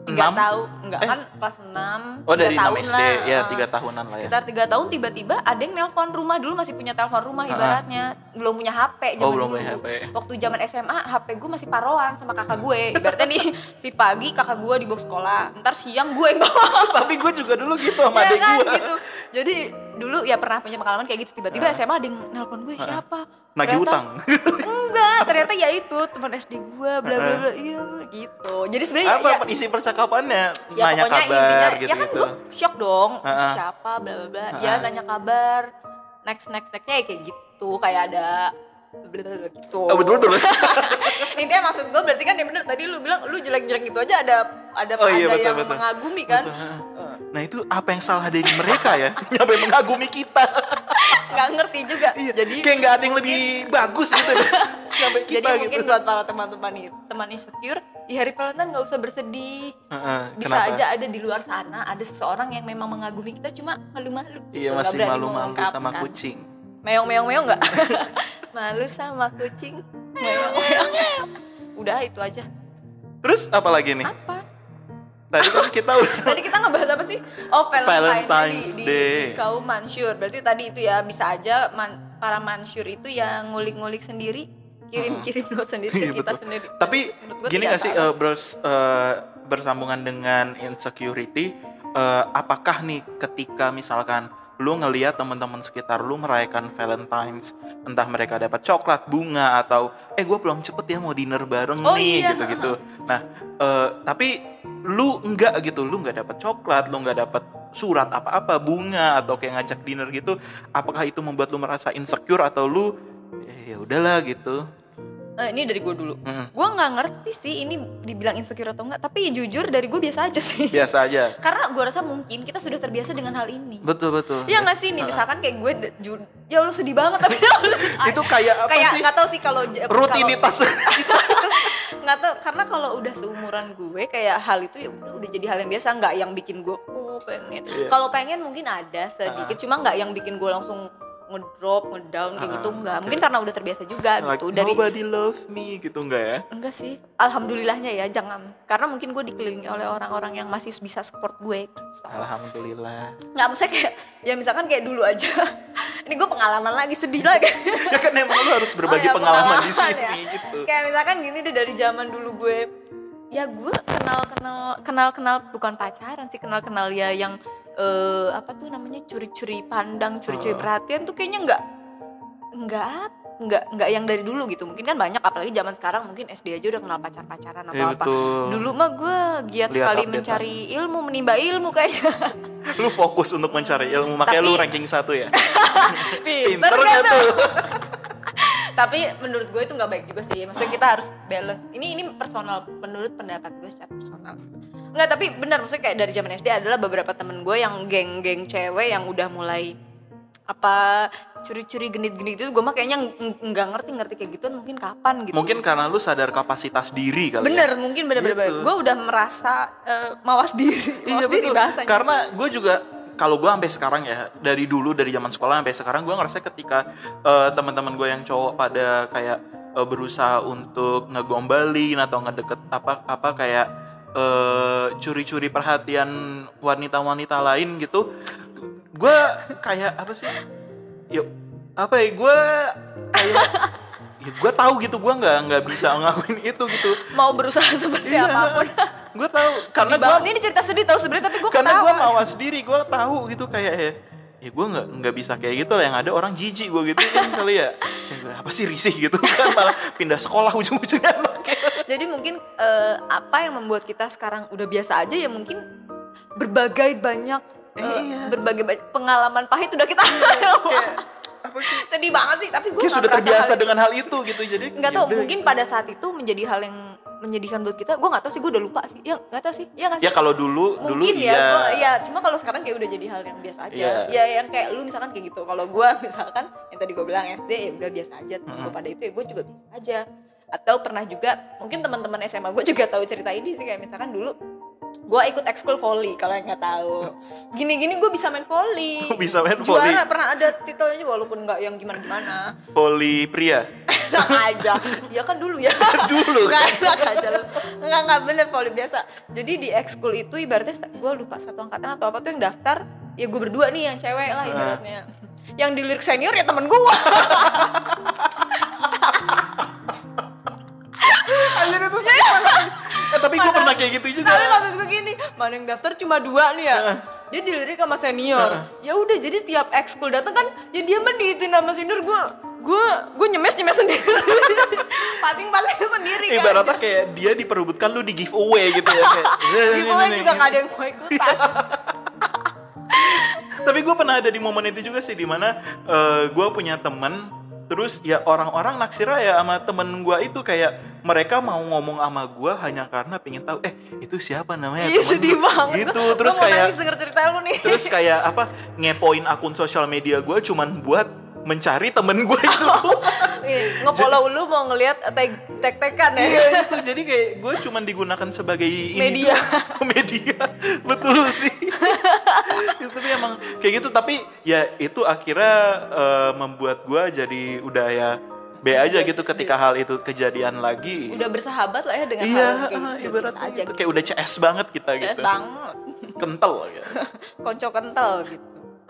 [SPEAKER 2] nggak
[SPEAKER 1] Enam?
[SPEAKER 2] tahu nggak
[SPEAKER 1] Eh.
[SPEAKER 2] kan kelas 6
[SPEAKER 1] Oh dari 6
[SPEAKER 2] tahun
[SPEAKER 1] SD
[SPEAKER 2] lah.
[SPEAKER 1] ya
[SPEAKER 2] Ah.
[SPEAKER 1] tiga tahunan lah ya.
[SPEAKER 2] sekitar tiga tahun tiba-tiba ada yang nelpon rumah dulu masih punya telepon rumah
[SPEAKER 1] Ah.
[SPEAKER 2] ibaratnya belum punya HP
[SPEAKER 1] Oh
[SPEAKER 2] zaman
[SPEAKER 1] belum
[SPEAKER 2] dulu.
[SPEAKER 1] punya HP.
[SPEAKER 2] waktu zaman SMA HP gue masih paroan sama kakak gue ibaratnya nih si pagi kakak gue dibawa sekolah ntar siang gue yang bawa
[SPEAKER 1] Tapi gue juga dulu gitu sama
[SPEAKER 2] ya
[SPEAKER 1] adik
[SPEAKER 2] kan
[SPEAKER 1] gue.
[SPEAKER 2] gitu jadi dulu ya pernah punya pengalaman kayak gitu
[SPEAKER 1] Ah.
[SPEAKER 2] tiba-tiba SMA ada yang nelpon gue siapa
[SPEAKER 1] Nagih
[SPEAKER 2] Ternyata-
[SPEAKER 1] utang.
[SPEAKER 2] enggak ternyata ya itu teman SD gue bla bla bla iya gitu jadi sebenarnya
[SPEAKER 1] Apa
[SPEAKER 2] ya-
[SPEAKER 1] isi percakapannya?
[SPEAKER 2] ya
[SPEAKER 1] Nanya
[SPEAKER 2] pokoknya
[SPEAKER 1] kabar
[SPEAKER 2] intinya, ya kan
[SPEAKER 1] gitu-gitu.
[SPEAKER 2] gue shock dong
[SPEAKER 1] Heeh.
[SPEAKER 2] siapa bla bla bla ya
[SPEAKER 1] Heeh.
[SPEAKER 2] nanya kabar next next nextnya ya kayak gitu kayak ada bla bla bla gitu
[SPEAKER 1] Oh, betul betul.
[SPEAKER 2] *laughs* intinya maksud gue berarti kan yang bener tadi lu bilang lu jelek jelek gitu aja ada ada
[SPEAKER 1] Oh, iya,
[SPEAKER 2] ada
[SPEAKER 1] betul,
[SPEAKER 2] yang
[SPEAKER 1] betul.
[SPEAKER 2] mengagumi kan
[SPEAKER 1] Betul, heeh.
[SPEAKER 2] Eh,
[SPEAKER 1] Nah itu apa yang salah dari mereka
[SPEAKER 2] *laughs*
[SPEAKER 1] ya? Nyampe mengagumi kita.
[SPEAKER 2] nggak ngerti juga
[SPEAKER 1] Iya.
[SPEAKER 2] jadi
[SPEAKER 1] kayak nggak ada yang lebih bagus gitu.
[SPEAKER 2] *laughs*
[SPEAKER 1] Nyampe kita
[SPEAKER 2] jadi mungkin
[SPEAKER 1] gitu.
[SPEAKER 2] buat para teman-teman itu teman insecure di hari Valentine nggak usah bersedih
[SPEAKER 1] Heeh,
[SPEAKER 2] bisa
[SPEAKER 1] kenapa?
[SPEAKER 2] aja ada di luar sana ada seseorang yang memang mengagumi kita cuma malu-malu
[SPEAKER 1] Iya
[SPEAKER 2] gitu, nggak
[SPEAKER 1] masih
[SPEAKER 2] berani
[SPEAKER 1] malu-malu sama
[SPEAKER 2] mengungkapkan.
[SPEAKER 1] kucing.
[SPEAKER 2] meong meong meong nggak *laughs* malu sama kucing meong meong udah itu aja
[SPEAKER 1] Terus apa lagi nih?
[SPEAKER 2] apa
[SPEAKER 1] Tadi kan kita udah
[SPEAKER 2] tadi kita ngebahas apa sih oh Valentine
[SPEAKER 1] Valentine's
[SPEAKER 2] di, di-
[SPEAKER 1] Day.
[SPEAKER 2] di kaum Mansur berarti tadi itu ya bisa aja man- para Mansur itu yang ngulik-ngulik sendiri kirim-kirim note sendiri
[SPEAKER 1] Iya,
[SPEAKER 2] ke kita
[SPEAKER 1] betul.
[SPEAKER 2] sendiri
[SPEAKER 1] Tapi
[SPEAKER 2] Menurut gua
[SPEAKER 1] gini
[SPEAKER 2] tidak
[SPEAKER 1] gak sih
[SPEAKER 2] salah.
[SPEAKER 1] eh, bers- eh, bersambungan dengan insecurity, eh, apakah nih ketika misalkan lu ngelihat teman-teman sekitar lu merayakan Valentine's, entah mereka dapat coklat, bunga atau eh gue pulang cepet ya mau dinner bareng
[SPEAKER 2] Oh,
[SPEAKER 1] nih
[SPEAKER 2] iya,
[SPEAKER 1] gitu-gitu. Nah, eh, tapi lu enggak gitu, lu enggak dapat coklat, lu enggak dapat surat apa-apa, bunga atau kayak ngajak dinner gitu, apakah itu membuat lu merasa insecure atau lu "Eh, ya udahlah gitu.
[SPEAKER 2] Eh, ini dari gue dulu
[SPEAKER 1] Mm,
[SPEAKER 2] gue nggak ngerti sih ini dibilang insecure atau enggak tapi jujur dari gue biasa aja sih
[SPEAKER 1] Biasa aja.
[SPEAKER 2] *laughs* karena gue rasa mungkin kita sudah terbiasa dengan hal ini
[SPEAKER 1] Betul betul.
[SPEAKER 2] Iya nggak sih nih misalkan kayak gue de- ju- ya lu sedih banget tapi ya
[SPEAKER 1] *laughs*
[SPEAKER 2] lu-
[SPEAKER 1] Itu kayak apa
[SPEAKER 2] kayak
[SPEAKER 1] sih?
[SPEAKER 2] nggak tahu sih kalau j- kalau-
[SPEAKER 1] Rutinitas.
[SPEAKER 2] nggak tahu karena kalau udah seumuran gue kayak hal itu ya udah udah jadi hal yang biasa nggak yang bikin gue oh pengen
[SPEAKER 1] Iya.
[SPEAKER 2] kalau pengen mungkin ada sedikit cuma nggak yang bikin gue langsung ngedrop ngedown kayak
[SPEAKER 1] Ah,
[SPEAKER 2] gitu nggak
[SPEAKER 1] oke.
[SPEAKER 2] mungkin karena udah terbiasa juga
[SPEAKER 1] Like,
[SPEAKER 2] gitu dari
[SPEAKER 1] Nobody loves me gitu enggak ya?
[SPEAKER 2] enggak sih alhamdulillahnya ya jangan karena mungkin gue dikelilingi oleh orang-orang yang masih bisa support gue gitu.
[SPEAKER 1] Alhamdulillah.
[SPEAKER 2] nggak maksudnya kayak ya misalkan kayak dulu aja *laughs* ini gue pengalaman lagi sedih lagi *laughs*
[SPEAKER 1] ya kan emang lu harus berbagi
[SPEAKER 2] Oh, ya,
[SPEAKER 1] pengalaman, di sini
[SPEAKER 2] pengalaman ya.
[SPEAKER 1] gitu.
[SPEAKER 2] kayak misalkan gini deh dari zaman dulu gue ya gue kenal kenal kenal kenal bukan pacaran sih kenal kenal ya yang eh, apa tuh namanya curi-curi pandang curi-curi
[SPEAKER 1] Oh.
[SPEAKER 2] perhatian tuh kayaknya nggak nggak ap- nggak nggak yang dari dulu gitu mungkin kan banyak apalagi zaman sekarang mungkin SD aja udah kenal pacar pacaran atau
[SPEAKER 1] Iya,
[SPEAKER 2] apa
[SPEAKER 1] betul.
[SPEAKER 2] dulu mah gue giat
[SPEAKER 1] Lihat
[SPEAKER 2] sekali
[SPEAKER 1] updatean.
[SPEAKER 2] mencari ilmu menimba ilmu kayaknya *laughs*
[SPEAKER 1] Lu fokus untuk mencari ilmu, makanya
[SPEAKER 2] Tapi-
[SPEAKER 1] lu ranking satu ya.
[SPEAKER 2] pinter
[SPEAKER 1] Pinter
[SPEAKER 2] kan?
[SPEAKER 1] kan?
[SPEAKER 2] gak
[SPEAKER 1] nggak
[SPEAKER 2] tuh?
[SPEAKER 1] tuh?
[SPEAKER 2] tapi menurut gue itu nggak baik juga sih maksudnya kita harus balance ini ini personal menurut pendapat gue secara personal nggak tapi benar maksudnya kayak dari zaman SD adalah beberapa temen gue yang geng-geng cewek yang udah mulai apa curi-curi genit-genit itu gue mah kayaknya ng- nggak ngerti-ngerti kayak gitu mungkin kapan gitu
[SPEAKER 1] Mungkin karena lu sadar kapasitas diri kali ya.
[SPEAKER 2] bener mungkin bener-bener
[SPEAKER 1] Gitu. Iya,
[SPEAKER 2] gue udah merasa eh, mawas diri mawas diri bahasanya
[SPEAKER 1] Karena gue juga kalau gue sampai sekarang ya dari dulu dari zaman sekolah sampai sekarang gue ngerasa ketika eh, teman-teman gue yang cowok pada kayak eh, berusaha untuk ngegombalin atau ngedeket apa apa kayak eh, curi-curi perhatian wanita-wanita lain gitu gue kayak apa sih yuk apa ya gue kayak ya gue tahu gitu gue nggak nggak bisa ngakuin itu gitu
[SPEAKER 2] mau berusaha *laughs* seperti
[SPEAKER 1] Iya.
[SPEAKER 2] Ya, apapun
[SPEAKER 1] gue tahu karena
[SPEAKER 2] Sedih
[SPEAKER 1] gue
[SPEAKER 2] banget. ini cerita sedih tau sebenarnya tapi gue
[SPEAKER 1] karena
[SPEAKER 2] ketawa
[SPEAKER 1] gue mawas diri gue tahu gitu kayak ya ya gue nggak nggak bisa kayak gitu lah yang ada orang jijik gue gitu kan kali ya Ya, gua, apa sih risih gitu kan malah pindah sekolah
[SPEAKER 2] *laughs*
[SPEAKER 1] ujung-ujungnya
[SPEAKER 2] Jadi mungkin eh, apa yang membuat kita sekarang udah biasa aja ya mungkin berbagai banyak eh,
[SPEAKER 1] Iya.
[SPEAKER 2] berbagai banyak pengalaman pahit udah kita *laughs*
[SPEAKER 1] kayak apa sih
[SPEAKER 2] sedih banget sih tapi gue
[SPEAKER 1] kayak sudah terbiasa dengan gitu. hal itu gitu jadi
[SPEAKER 2] nggak tahu
[SPEAKER 1] yaudah.
[SPEAKER 2] mungkin pada saat itu menjadi hal yang menyedihkan buat kita gue nggak tahu sih gue udah lupa sih ya nggak tahu sih ya nggak sih
[SPEAKER 1] ya kalau dulu dulu
[SPEAKER 2] mungkin ya
[SPEAKER 1] iya.
[SPEAKER 2] gua- ya cuma kalau sekarang kayak udah jadi hal yang biasa aja
[SPEAKER 1] Iya.
[SPEAKER 2] ya yang kayak lu misalkan kayak gitu kalau gue *laughs* misalkan yang tadi gue bilang SD ya udah biasa aja temen gua pada itu ya gue juga biasa aja atau pernah juga mungkin teman-teman SMA gue juga tahu cerita ini sih kayak misalkan dulu gue ikut ekskul volley kalau yang nggak
[SPEAKER 1] *laughs*
[SPEAKER 2] tahu gini-gini gue bisa main volley
[SPEAKER 1] Bisa main volley.
[SPEAKER 2] juara pernah ada titelnya juga walaupun nggak yang gimana-gimana
[SPEAKER 1] Poli pria.
[SPEAKER 2] Enak aja ya kan dulu ya
[SPEAKER 1] *laughs* Dulu.
[SPEAKER 2] nggak enak aja lu nggak nggak bener volley biasa jadi di ekskul itu ibaratnya gue lupa satu angkatan atau apa tuh yang daftar ya gue berdua nih yang cewek
[SPEAKER 1] Ah.
[SPEAKER 2] lah ibaratnya yang di lirik senior ya temen gue
[SPEAKER 1] *laughs* Anjir *laughs* itu sakit Eh tapi gue pernah kayak gitu juga.
[SPEAKER 2] Tapi maksud gue gini, mana yang daftar cuma dua nih ya.
[SPEAKER 1] Ah.
[SPEAKER 2] Dia dilirik sama senior. Ya udah jadi tiap ekskul datang kan ya dia mah diituin sama senior gue gue gue nyemes nyemes
[SPEAKER 1] *laughs*
[SPEAKER 2] sendiri pasing pasing sendiri kan
[SPEAKER 1] Ibaratnya kayak dia diperebutkan lu di giveaway gitu ya.
[SPEAKER 2] *laughs*
[SPEAKER 1] Kayak,
[SPEAKER 2] di bawah juga kan gak ada yang mau ikutan
[SPEAKER 1] Tapi gue pernah ada di momen itu juga sih dimana gue punya temen terus ya orang-orang naksirnya ya sama temen gue itu kayak mereka mau ngomong sama gue hanya karena pengen tahu eh itu siapa namanya Eh,
[SPEAKER 2] iya
[SPEAKER 1] temen
[SPEAKER 2] sedih
[SPEAKER 1] lu?"
[SPEAKER 2] banget
[SPEAKER 1] gitu
[SPEAKER 2] Gua-
[SPEAKER 1] terus
[SPEAKER 2] gua mau
[SPEAKER 1] kayak
[SPEAKER 2] nangis denger cerita lu
[SPEAKER 1] *laughs*
[SPEAKER 2] nih
[SPEAKER 1] terus kayak apa ngepoin akun sosial media gue cuman buat mencari temen gue itu
[SPEAKER 2] *laughs* Iya, ngefollow lu mau ngelihat tag tag tekan ya *laughs*
[SPEAKER 1] Iya itu jadi kayak gue cuman digunakan sebagai ini
[SPEAKER 2] Media.
[SPEAKER 1] doang. *laughs* media betul
[SPEAKER 2] *laughs*
[SPEAKER 1] sih. itu tapi emang kayak gitu tapi ya itu akhirnya eh, membuat gue jadi udah ya B
[SPEAKER 2] Iya,
[SPEAKER 1] aja gitu ketika hal itu kejadian lagi.
[SPEAKER 2] udah bersahabat lah ya dengan
[SPEAKER 1] iya
[SPEAKER 2] hal
[SPEAKER 1] *laughs*
[SPEAKER 2] kayak gitu
[SPEAKER 1] ibaratnya
[SPEAKER 2] aja
[SPEAKER 1] gitu. kayak udah CS banget kita
[SPEAKER 2] CS
[SPEAKER 1] gitu
[SPEAKER 2] banget
[SPEAKER 1] kental ya
[SPEAKER 2] konco kental gitu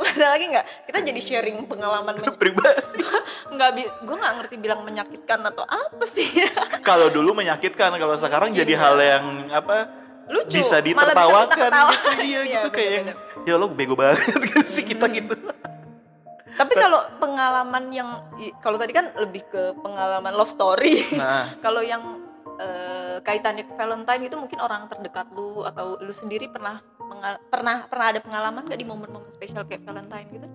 [SPEAKER 2] *laughs* ada lagi nggak kita jadi sharing pengalaman men- *laughs*
[SPEAKER 1] pribadi.
[SPEAKER 2] nggak bi gue nggak ngerti bilang menyakitkan atau apa sih *laughs*
[SPEAKER 1] Kalau dulu menyakitkan kalau sekarang jadi hal yang apa
[SPEAKER 2] Iya. lucu
[SPEAKER 1] bisa
[SPEAKER 2] malah
[SPEAKER 1] ditertawakan
[SPEAKER 2] kita ketawa.
[SPEAKER 1] gitu *laughs* iya
[SPEAKER 2] *laughs*
[SPEAKER 1] gitu kayak yang,
[SPEAKER 2] bener-bener.
[SPEAKER 1] ya lo bego banget *laughs* gitu sih kita
[SPEAKER 2] Hmm.
[SPEAKER 1] gitu
[SPEAKER 2] tapi kalau pengalaman yang i- kalau tadi kan lebih ke pengalaman love story *laughs*
[SPEAKER 1] nah
[SPEAKER 2] kalau yang eh, kaitannya ke Valentine itu mungkin orang terdekat lu atau lu sendiri pernah mengal- pernah pernah ada pengalaman gak di momen-momen spesial kayak Valentine gitu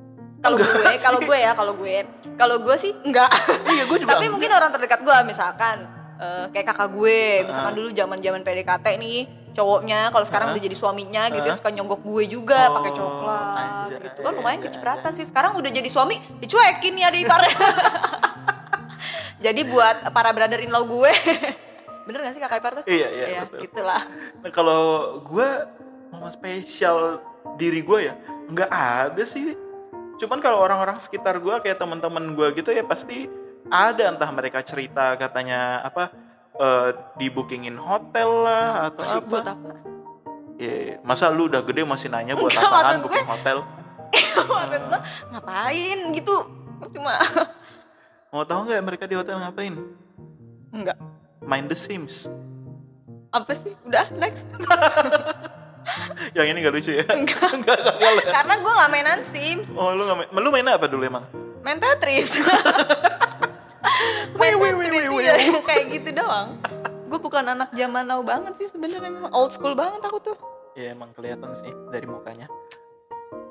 [SPEAKER 2] kalau gue
[SPEAKER 1] sih.
[SPEAKER 2] kalau gue ya kalau gue kalau gue sih enggak
[SPEAKER 1] iya gue juga
[SPEAKER 2] tapi mungkin orang terdekat gue misalkan eh, kayak kakak gue misalkan dulu zaman zaman PDKT nih cowoknya kalau sekarang
[SPEAKER 1] Ah.
[SPEAKER 2] udah jadi suaminya gitu ya
[SPEAKER 1] Ah.
[SPEAKER 2] suka nyogok gue juga
[SPEAKER 1] Oh,
[SPEAKER 2] pakai coklat
[SPEAKER 1] anjay. Iya,
[SPEAKER 2] gitu kan lumayan kecipratan sih sekarang udah jadi suami dicuekin ya dari para *laughs* jadi buat para brother in law gue *laughs* bener gak sih kakak ipar tuh
[SPEAKER 1] Iya, iya,
[SPEAKER 2] ya,
[SPEAKER 1] betul.
[SPEAKER 2] gitulah
[SPEAKER 1] Nah, kalau gue momen spesial diri gue ya nggak ada sih. Cuman kalau orang-orang sekitar gue kayak teman-teman gue gitu ya pasti ada entah mereka cerita katanya apa eh, di bookingin hotel lah atau
[SPEAKER 2] Maksud
[SPEAKER 1] apa.
[SPEAKER 2] buat apa *laughs*
[SPEAKER 1] Ya, masa lu udah gede masih nanya buat
[SPEAKER 2] Enggak,
[SPEAKER 1] apaan
[SPEAKER 2] maksud
[SPEAKER 1] booking hotel?
[SPEAKER 2] maksud gue ngapain gitu cuma *laughs*
[SPEAKER 1] Mau tahu nggak mereka di hotel ngapain?
[SPEAKER 2] enggak
[SPEAKER 1] Main The Sims. *laughs*
[SPEAKER 2] apa sih udah next
[SPEAKER 1] Yang ini gak lucu ya? *laughs*
[SPEAKER 2] enggak
[SPEAKER 1] Enggak, enggak, enggak.
[SPEAKER 2] karena gue gak mainan sims
[SPEAKER 1] Oh lu nggak main, lu mainnya apa dulu emang?
[SPEAKER 2] main Tetris. *laughs* main Tetris iya, kayak gitu doang. Gue bukan anak zaman now banget sih sebenarnya memang old school banget aku tuh.
[SPEAKER 1] Ya emang kelihatan sih dari mukanya.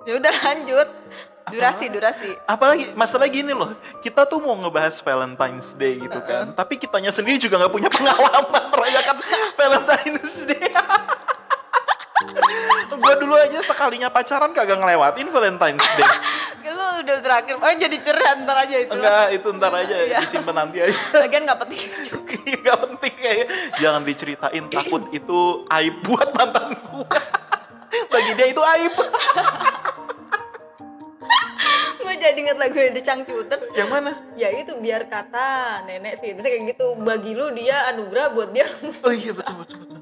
[SPEAKER 2] Ya udah lanjut. Durasi, durasi.
[SPEAKER 1] apalagi masalah gini loh kita tuh mau ngebahas Valentine's Day gitu kan tapi kitanya sendiri juga nggak punya pengalaman *laughs* merayakan Valentine's Day gue dulu aja sekalinya pacaran kagak ngelewatin Valentine's *laughs* Day
[SPEAKER 2] Ya, Lu udah terakhir. Oh jadi cerah ntar aja itu.
[SPEAKER 1] enggak itu ntar aja
[SPEAKER 2] Iya.
[SPEAKER 1] disimpan nanti aja *laughs*
[SPEAKER 2] Lagian gak penting *laughs* juga.
[SPEAKER 1] nggak penting kayak jangan diceritain takut itu aib buat mantan gue *laughs* bagi dia itu aib
[SPEAKER 2] Gue jadi inget lagu The Changcuters.
[SPEAKER 1] yang mana
[SPEAKER 2] Ya itu biar kata nenek sih. Misalnya kayak gitu. Bagi lu dia anugerah buat dia. musuh.
[SPEAKER 1] oh iya betul betul betul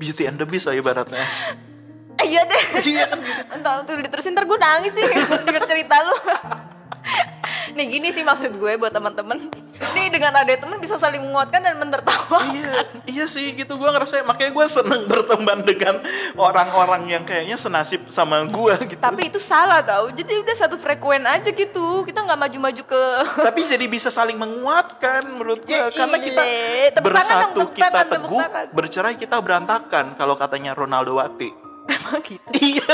[SPEAKER 1] Beauty and the Beast lah ibaratnya
[SPEAKER 2] Iya deh.
[SPEAKER 1] *laughs* iya kan gitu.
[SPEAKER 2] Entah tuh diterusin ntar gue nangis nih *laughs* denger cerita lu. *laughs* nih gini sih maksud gue buat teman-teman. Nih dengan ada teman bisa saling menguatkan dan menertawakan.
[SPEAKER 1] iya iya sih gitu gue ngerasa makanya gue seneng berteman dengan orang-orang yang kayaknya senasib sama gue gitu tapi,
[SPEAKER 2] *laughs* Tapi itu salah tau. Jadi udah satu frekuen aja gitu. Kita nggak maju-maju ke *laughs*
[SPEAKER 1] jadi bisa saling menguatkan menurut gue
[SPEAKER 2] Ya
[SPEAKER 1] karena kita
[SPEAKER 2] ile. Tepuk tangan
[SPEAKER 1] bersatu
[SPEAKER 2] dong, tepuk
[SPEAKER 1] kita
[SPEAKER 2] tangan, tepuk
[SPEAKER 1] teguh
[SPEAKER 2] tangan.
[SPEAKER 1] bercerai kita berantakan kalau katanya Ronaldo Wati
[SPEAKER 2] Emang gitu.
[SPEAKER 1] iya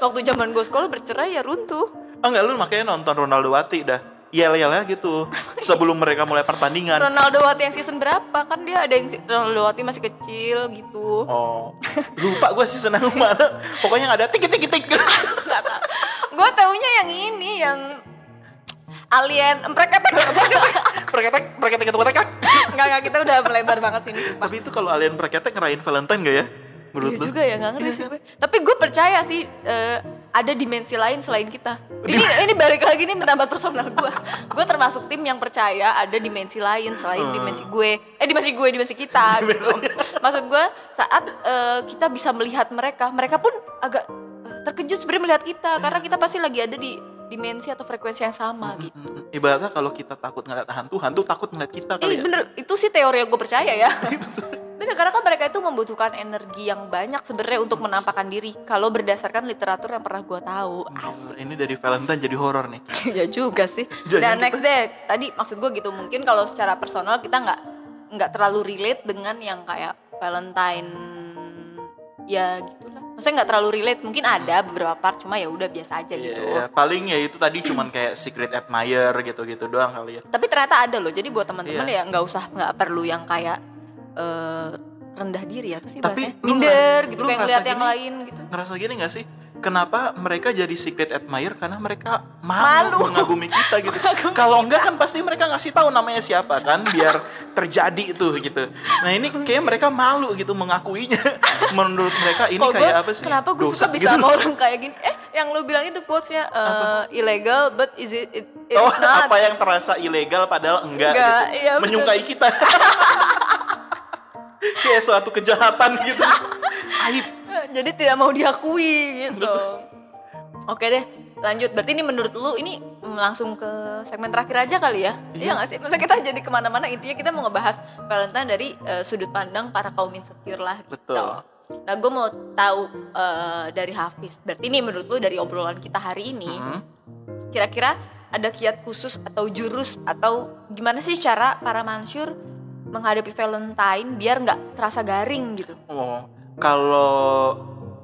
[SPEAKER 2] Waktu zaman gue sekolah bercerai ya runtuh.
[SPEAKER 1] oh, enggak lu makanya nonton Ronaldo Wati dah yel yelnya gitu sebelum mereka mulai pertandingan
[SPEAKER 2] Ronaldo Wati yang season berapa kan dia ada yang Ronaldo Wati masih kecil gitu. *laughs*
[SPEAKER 1] oh lupa gue sih senang mana pokoknya yang ada tik tik tik
[SPEAKER 2] gue taunya yang ini yang alien emprek
[SPEAKER 1] perketek perketek ketek ketek
[SPEAKER 2] Enggak, enggak, kita udah melebar banget sini.
[SPEAKER 1] Tapi itu kalau alien perketek ngerayain Valentine gak ya? menurut
[SPEAKER 2] Iya
[SPEAKER 1] lu?
[SPEAKER 2] juga ya nggak ngerti sih gue. Tapi gue percaya sih eh, ada dimensi lain selain kita. Ini ini balik lagi nih menambah personal gue. gue termasuk tim yang percaya ada dimensi lain selain
[SPEAKER 1] Hmm.
[SPEAKER 2] dimensi gue. Eh dimensi gue dimensi
[SPEAKER 1] *laughs*
[SPEAKER 2] kita. gitu. Maksud gue saat eh, kita bisa melihat mereka, mereka pun agak eh, terkejut sebenarnya melihat kita karena kita pasti lagi ada di dimensi atau frekuensi yang sama gitu.
[SPEAKER 1] Mm-mm. Ibaratnya kalau kita takut ngeliat hantu, hantu takut ngeliat kita
[SPEAKER 2] Eh
[SPEAKER 1] kali ya.
[SPEAKER 2] bener itu sih teori yang gue percaya ya. Bener karena kan mereka itu membutuhkan energi yang banyak sebenarnya untuk menampakkan diri. Kalau berdasarkan literatur yang pernah gue tahu, asik. *laughs*
[SPEAKER 1] Ini dari Valentine jadi horor nih.
[SPEAKER 2] ya juga sih.
[SPEAKER 1] Jangan
[SPEAKER 2] Dan next deh, tadi maksud gue gitu mungkin kalau secara personal kita nggak nggak terlalu relate dengan yang kayak Valentine ya gitulah. Maksudnya nggak terlalu relate, mungkin ada beberapa part cuma ya udah biasa aja gitu.
[SPEAKER 1] Iya, paling ya itu tadi cuman kayak secret admirer gitu-gitu doang kali ya.
[SPEAKER 2] tapi ternyata ada loh jadi buat teman-teman
[SPEAKER 1] Iya.
[SPEAKER 2] ya nggak usah nggak perlu yang kayak eh, rendah diri atau sih
[SPEAKER 1] Tapi
[SPEAKER 2] bahasanya
[SPEAKER 1] lu
[SPEAKER 2] minder
[SPEAKER 1] ngeras-
[SPEAKER 2] gitu
[SPEAKER 1] lu
[SPEAKER 2] kayak
[SPEAKER 1] ngerasa
[SPEAKER 2] ngeliat yang
[SPEAKER 1] gini?
[SPEAKER 2] lain gitu
[SPEAKER 1] Ngerasa gini gak sih? Kenapa mereka jadi secret admirer? Karena mereka
[SPEAKER 2] Malu.
[SPEAKER 1] malu, mengagumi kita gitu.
[SPEAKER 2] *laughs* Mengagumi
[SPEAKER 1] Kalau enggak kan pasti mereka ngasih tahu namanya siapa kan biar terjadi itu gitu. Nah, ini kayak mereka malu gitu
[SPEAKER 2] *laughs*
[SPEAKER 1] mengakuinya. Menurut mereka ini
[SPEAKER 2] Kok
[SPEAKER 1] kayak
[SPEAKER 2] gua-
[SPEAKER 1] apa sih?
[SPEAKER 2] kenapa gue
[SPEAKER 1] Dosa
[SPEAKER 2] suka
[SPEAKER 1] *laughs*
[SPEAKER 2] bisa
[SPEAKER 1] gitu
[SPEAKER 2] sama
[SPEAKER 1] loh.
[SPEAKER 2] orang kayak gini eh yang lu bilang itu quotesnya eh, illegal but is it, it it's
[SPEAKER 1] Oh,
[SPEAKER 2] not
[SPEAKER 1] apa yang terasa ilegal padahal enggak,
[SPEAKER 2] Enggak,
[SPEAKER 1] gitu.
[SPEAKER 2] iya, betul.
[SPEAKER 1] Menyukai kita. *laughs* kayak suatu kejahatan gitu. Aib.
[SPEAKER 2] jadi tidak mau diakui gitu oke deh lanjut berarti ini menurut lu ini mm, langsung ke segmen terakhir aja kali ya
[SPEAKER 1] Iya.
[SPEAKER 2] iya nggak sih maksudnya kita jadi kemana-mana intinya kita mau ngebahas Valentine dari eh, sudut pandang para kaum insecure lah gitu.
[SPEAKER 1] Betul.
[SPEAKER 2] nah gue mau tahu eh, dari Hafiz berarti ini menurut lu dari obrolan kita hari ini
[SPEAKER 1] Hmm.
[SPEAKER 2] kira-kira ada kiat khusus atau jurus atau gimana sih cara para mansur menghadapi Valentine biar nggak terasa garing gitu
[SPEAKER 1] Oh, kalau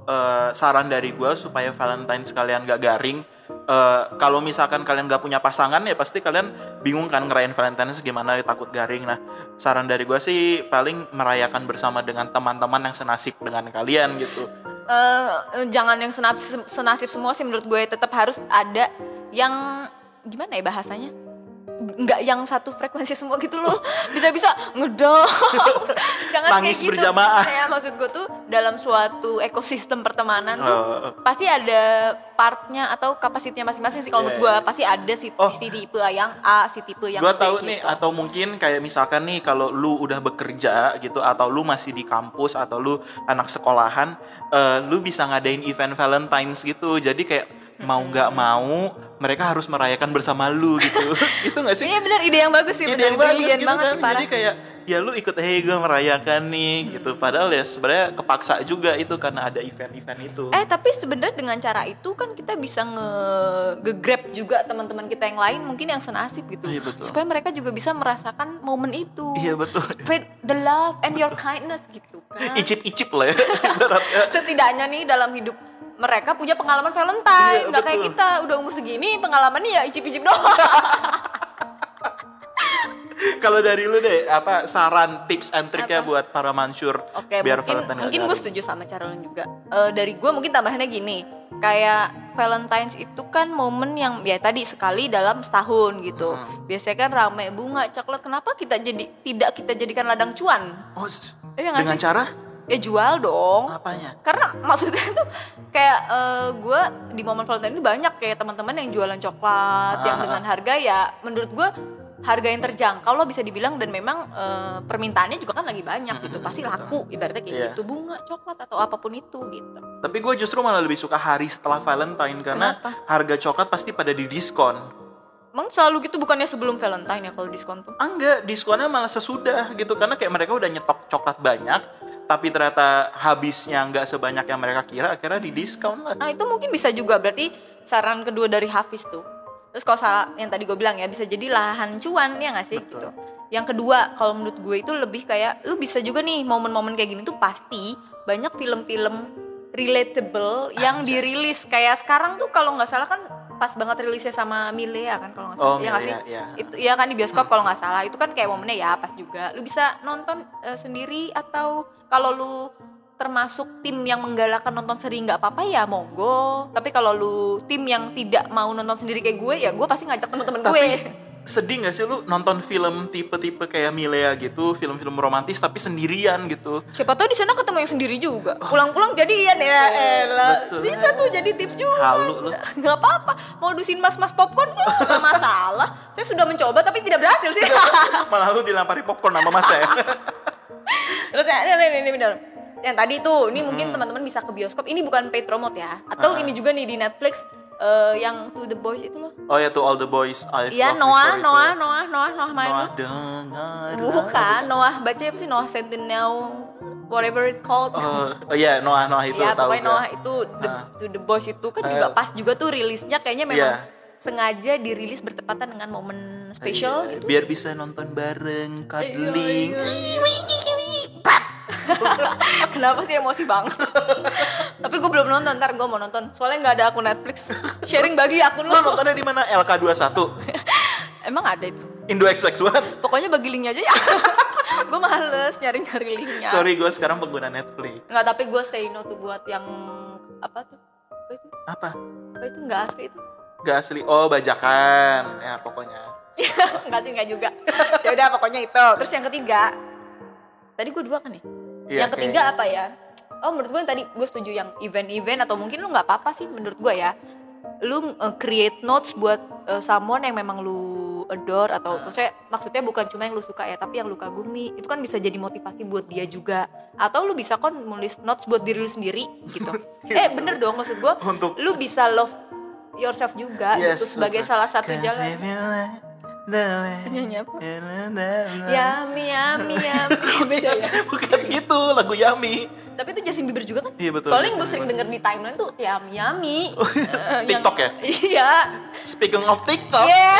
[SPEAKER 1] eh, saran dari gue supaya Valentine sekalian gak garing, eh, kalau misalkan kalian gak punya pasangan ya pasti kalian bingung kan ngerayain Valentine gimana takut garing. Nah, saran dari gue sih paling merayakan bersama dengan teman-teman yang senasib dengan kalian gitu.
[SPEAKER 2] Eh, jangan yang senasib, senasib semua sih menurut gue tetap harus ada yang gimana ya bahasanya nggak yang satu frekuensi semua gitu
[SPEAKER 1] *laughs*
[SPEAKER 2] loh bisa-bisa ngedown jangan
[SPEAKER 1] Nangis
[SPEAKER 2] kayak gitu
[SPEAKER 1] berjamaah.
[SPEAKER 2] Ya, maksud gue tuh dalam suatu ekosistem pertemanan tuh
[SPEAKER 1] Eh,
[SPEAKER 2] pasti ada partnya atau kapasitinya masing-masing sih kalau
[SPEAKER 1] Iya,
[SPEAKER 2] menurut gue pasti ada si,
[SPEAKER 1] Oh.
[SPEAKER 2] si tipe yang A si tipe yang
[SPEAKER 1] Gua
[SPEAKER 2] B
[SPEAKER 1] tahu
[SPEAKER 2] gitu.
[SPEAKER 1] nih atau mungkin kayak misalkan nih kalau lu udah bekerja gitu atau lu masih di kampus atau lu anak sekolahan eh, lu bisa ngadain event Valentines gitu jadi kayak mau nggak mau mereka harus merayakan bersama lu
[SPEAKER 2] *laughs*
[SPEAKER 1] gitu *laughs* itu nggak sih
[SPEAKER 2] Iya benar ide yang bagus sih
[SPEAKER 1] Ide
[SPEAKER 2] benar
[SPEAKER 1] yang bagus
[SPEAKER 2] brilian
[SPEAKER 1] gitu
[SPEAKER 2] banget
[SPEAKER 1] kan
[SPEAKER 2] sih parah
[SPEAKER 1] jadi kayak ya lu ikut hey gue merayakan nih gitu padahal ya sebenarnya kepaksa juga itu karena ada event-event itu
[SPEAKER 2] Eh tapi sebenarnya dengan cara itu kan kita bisa nge grab juga teman-teman kita yang lain mungkin yang senasib gitu.
[SPEAKER 1] Iya, betul.
[SPEAKER 2] Supaya mereka juga bisa merasakan momen itu.
[SPEAKER 1] iya betul
[SPEAKER 2] Spread the love and your kindness gitu kan.
[SPEAKER 1] icip-icip lah ya *laughs* ibaratnya.
[SPEAKER 2] Setidaknya nih dalam hidup mereka punya pengalaman
[SPEAKER 1] Iya,
[SPEAKER 2] Valentine, nggak kayak
[SPEAKER 1] betul.
[SPEAKER 2] kita udah umur segini pengalamannya ya icip-icip doang.
[SPEAKER 1] Kalau dari lu deh, apa saran, tips and triknya
[SPEAKER 2] Apa?
[SPEAKER 1] buat para mansur
[SPEAKER 2] Oke,
[SPEAKER 1] biar
[SPEAKER 2] mungkin
[SPEAKER 1] Valentine gak
[SPEAKER 2] mungkin gue
[SPEAKER 1] garing?
[SPEAKER 2] setuju sama cara lu juga. Eh, dari gue mungkin tambahannya gini, kayak Valentine's itu kan momen yang ya tadi sekali dalam setahun gitu.
[SPEAKER 1] Hmm.
[SPEAKER 2] Biasanya kan ramai bunga, coklat. Kenapa kita jadi tidak kita jadikan ladang cuan?
[SPEAKER 1] Oh, s-
[SPEAKER 2] Iya nggak
[SPEAKER 1] dengan
[SPEAKER 2] sih?
[SPEAKER 1] cara
[SPEAKER 2] Ya jual dong
[SPEAKER 1] apanya?
[SPEAKER 2] karena maksudnya tuh kayak gue di momen Valentine ini banyak kayak teman-teman yang jualan coklat yang
[SPEAKER 1] Ah.
[SPEAKER 2] dengan harga ya menurut gue harga yang terjangkau lo bisa dibilang dan memang eh, permintaannya juga kan lagi banyak gitu
[SPEAKER 1] Mm-mm,
[SPEAKER 2] pasti
[SPEAKER 1] betul.
[SPEAKER 2] laku ibaratnya kayak
[SPEAKER 1] Iya.
[SPEAKER 2] gitu bunga coklat atau apapun itu gitu
[SPEAKER 1] Tapi gue justru malah lebih suka hari setelah Valentine karena
[SPEAKER 2] Kenapa?
[SPEAKER 1] harga coklat pasti pada di diskon.
[SPEAKER 2] emang selalu gitu bukannya sebelum Valentine ya kalau diskon tuh
[SPEAKER 1] Ah, enggak, diskonnya malah sesudah gitu karena kayak mereka udah nyetok coklat banyak, tapi ternyata habisnya nggak sebanyak yang mereka kira, akhirnya di diskon lah.
[SPEAKER 2] nah itu mungkin bisa juga berarti saran kedua dari Hafiz tuh terus kalau salah yang tadi gue bilang ya bisa jadi lahan cuan ya nggak sih
[SPEAKER 1] Betul.
[SPEAKER 2] gitu yang kedua kalau menurut gue itu lebih kayak lu bisa juga nih momen-momen kayak gini tuh pasti banyak film-film relatable yang
[SPEAKER 1] Anjay.
[SPEAKER 2] dirilis kayak sekarang tuh kalau nggak salah kan pas banget rilisnya sama Milea kan kalau nggak salah
[SPEAKER 1] Oh,
[SPEAKER 2] ya nggak sih
[SPEAKER 1] Milea, iya.
[SPEAKER 2] itu iya kan di bioskop kalau nggak salah itu kan kayak momennya ya pas juga lu bisa nonton eh, sendiri atau kalau lu termasuk tim yang menggalakkan nonton sendiri nggak apa-apa ya monggo tapi kalau lu tim yang tidak mau nonton sendiri kayak gue ya gue pasti ngajak teman-teman gue
[SPEAKER 1] Tapi sedih gak sih lu nonton film tipe-tipe kayak Milea gitu, film-film romantis tapi sendirian gitu.
[SPEAKER 2] Siapa tahu di sana ketemu yang sendiri juga. Pulang-pulang jadian ya, elah.
[SPEAKER 1] Betul.
[SPEAKER 2] Bisa tuh jadi tips juga.
[SPEAKER 1] Halu lu.
[SPEAKER 2] Gak apa-apa. Mau dusin mas-mas popcorn mah gak masalah. Saya sudah mencoba tapi tidak berhasil
[SPEAKER 1] *laughs*
[SPEAKER 2] sih.
[SPEAKER 1] Malah lu dilampari popcorn sama Mas *laughs* ya.
[SPEAKER 2] Terus ya, ini, ini, ini benar. Yang tadi tuh, ini mungkin teman-teman bisa ke bioskop. Ini bukan paid promote ya. Atau
[SPEAKER 1] Hmm. Ah.
[SPEAKER 2] ini juga nih di Netflix eh, yang To the Boys itu loh.
[SPEAKER 1] Oh ya tuh All the Boys I
[SPEAKER 2] Iya,
[SPEAKER 1] Love Before oh, itu.
[SPEAKER 2] Noah, Noah, Noah, Noah, Noah, Noah
[SPEAKER 1] ya. Noah dengar.
[SPEAKER 2] Bukan, Noah. Baca apa sih Noah Centineo whatever it called.
[SPEAKER 1] Oh, oh iya Noah Noah itu
[SPEAKER 2] ya
[SPEAKER 1] tahu kan.
[SPEAKER 2] pokoknya
[SPEAKER 1] gua.
[SPEAKER 2] Noah itu the,
[SPEAKER 1] Ah.
[SPEAKER 2] to the boss itu kan juga
[SPEAKER 1] Eh.
[SPEAKER 2] pas juga tuh rilisnya kayaknya memang
[SPEAKER 1] Iya.
[SPEAKER 2] sengaja dirilis bertepatan dengan momen spesial
[SPEAKER 1] Iya,
[SPEAKER 2] gitu. *laughs*
[SPEAKER 1] Biar bisa nonton bareng cuddling.
[SPEAKER 2] Iya, iya, iya. Kenapa sih emosi
[SPEAKER 1] *laughs*
[SPEAKER 2] banget? Tapi gue belum nonton, ntar gue mau nonton. Soalnya nggak ada akun
[SPEAKER 1] *laughs*
[SPEAKER 2] Netflix. Sharing bagi akun
[SPEAKER 1] Lu
[SPEAKER 2] lo.
[SPEAKER 1] nontonnya di mana?
[SPEAKER 2] *laughs*
[SPEAKER 1] LK21.
[SPEAKER 2] Emang ada itu.
[SPEAKER 1] Indo XX1.
[SPEAKER 2] Pokoknya bagi linknya aja ya. *laughs* gue males nyari-nyari linknya.
[SPEAKER 1] Sorry gue sekarang pengguna Netflix.
[SPEAKER 2] Nggak, tapi gue say no tuh buat yang apa tuh? Apa itu?
[SPEAKER 1] Apa?
[SPEAKER 2] Apa itu nggak asli *laughs* itu?
[SPEAKER 1] Gak asli. Oh, bajakan. Ya pokoknya.
[SPEAKER 2] Enggak sih enggak *laughs* juga. Ya udah pokoknya itu. Terus yang ketiga. Tadi gue dua kan ya?
[SPEAKER 1] Iya,
[SPEAKER 2] yang ketiga apa ya? Oh menurut gue yang tadi gue setuju yang event-event atau mungkin lu nggak apa-apa sih menurut gue ya. Lu eh, create notes buat eh, someone yang memang lu adore atau
[SPEAKER 1] Hmm.
[SPEAKER 2] maksudnya maksudnya bukan cuma yang lu suka ya tapi yang lu kagumi itu kan bisa jadi motivasi buat dia juga atau lu bisa kan nulis notes buat diri lu sendiri gitu
[SPEAKER 1] *laughs* Iya.
[SPEAKER 2] eh bener dong maksud gue
[SPEAKER 1] kayak Untuk
[SPEAKER 2] lu bisa love yourself juga gitu sebagai
[SPEAKER 1] betul.
[SPEAKER 2] salah satu
[SPEAKER 1] Can
[SPEAKER 2] jalan
[SPEAKER 1] save you like the way.
[SPEAKER 2] Nyanyi apa? Ya.
[SPEAKER 1] Na, na, na.
[SPEAKER 2] Yami, yami, yami.
[SPEAKER 1] Iya,
[SPEAKER 2] Beda ya.
[SPEAKER 1] *laughs* Bukan gitu, lagu Yami.
[SPEAKER 2] Tapi itu Justin Bieber juga kan?
[SPEAKER 1] Iya, betul,
[SPEAKER 2] Soalnya
[SPEAKER 1] Justin
[SPEAKER 2] gue sering
[SPEAKER 1] Bieber. Oh,
[SPEAKER 2] denger di timeline tuh yami, yami. Eh, yang-
[SPEAKER 1] TikTok ya? Oh.
[SPEAKER 2] Iya.
[SPEAKER 1] Speaking of TikTok,
[SPEAKER 2] Iya.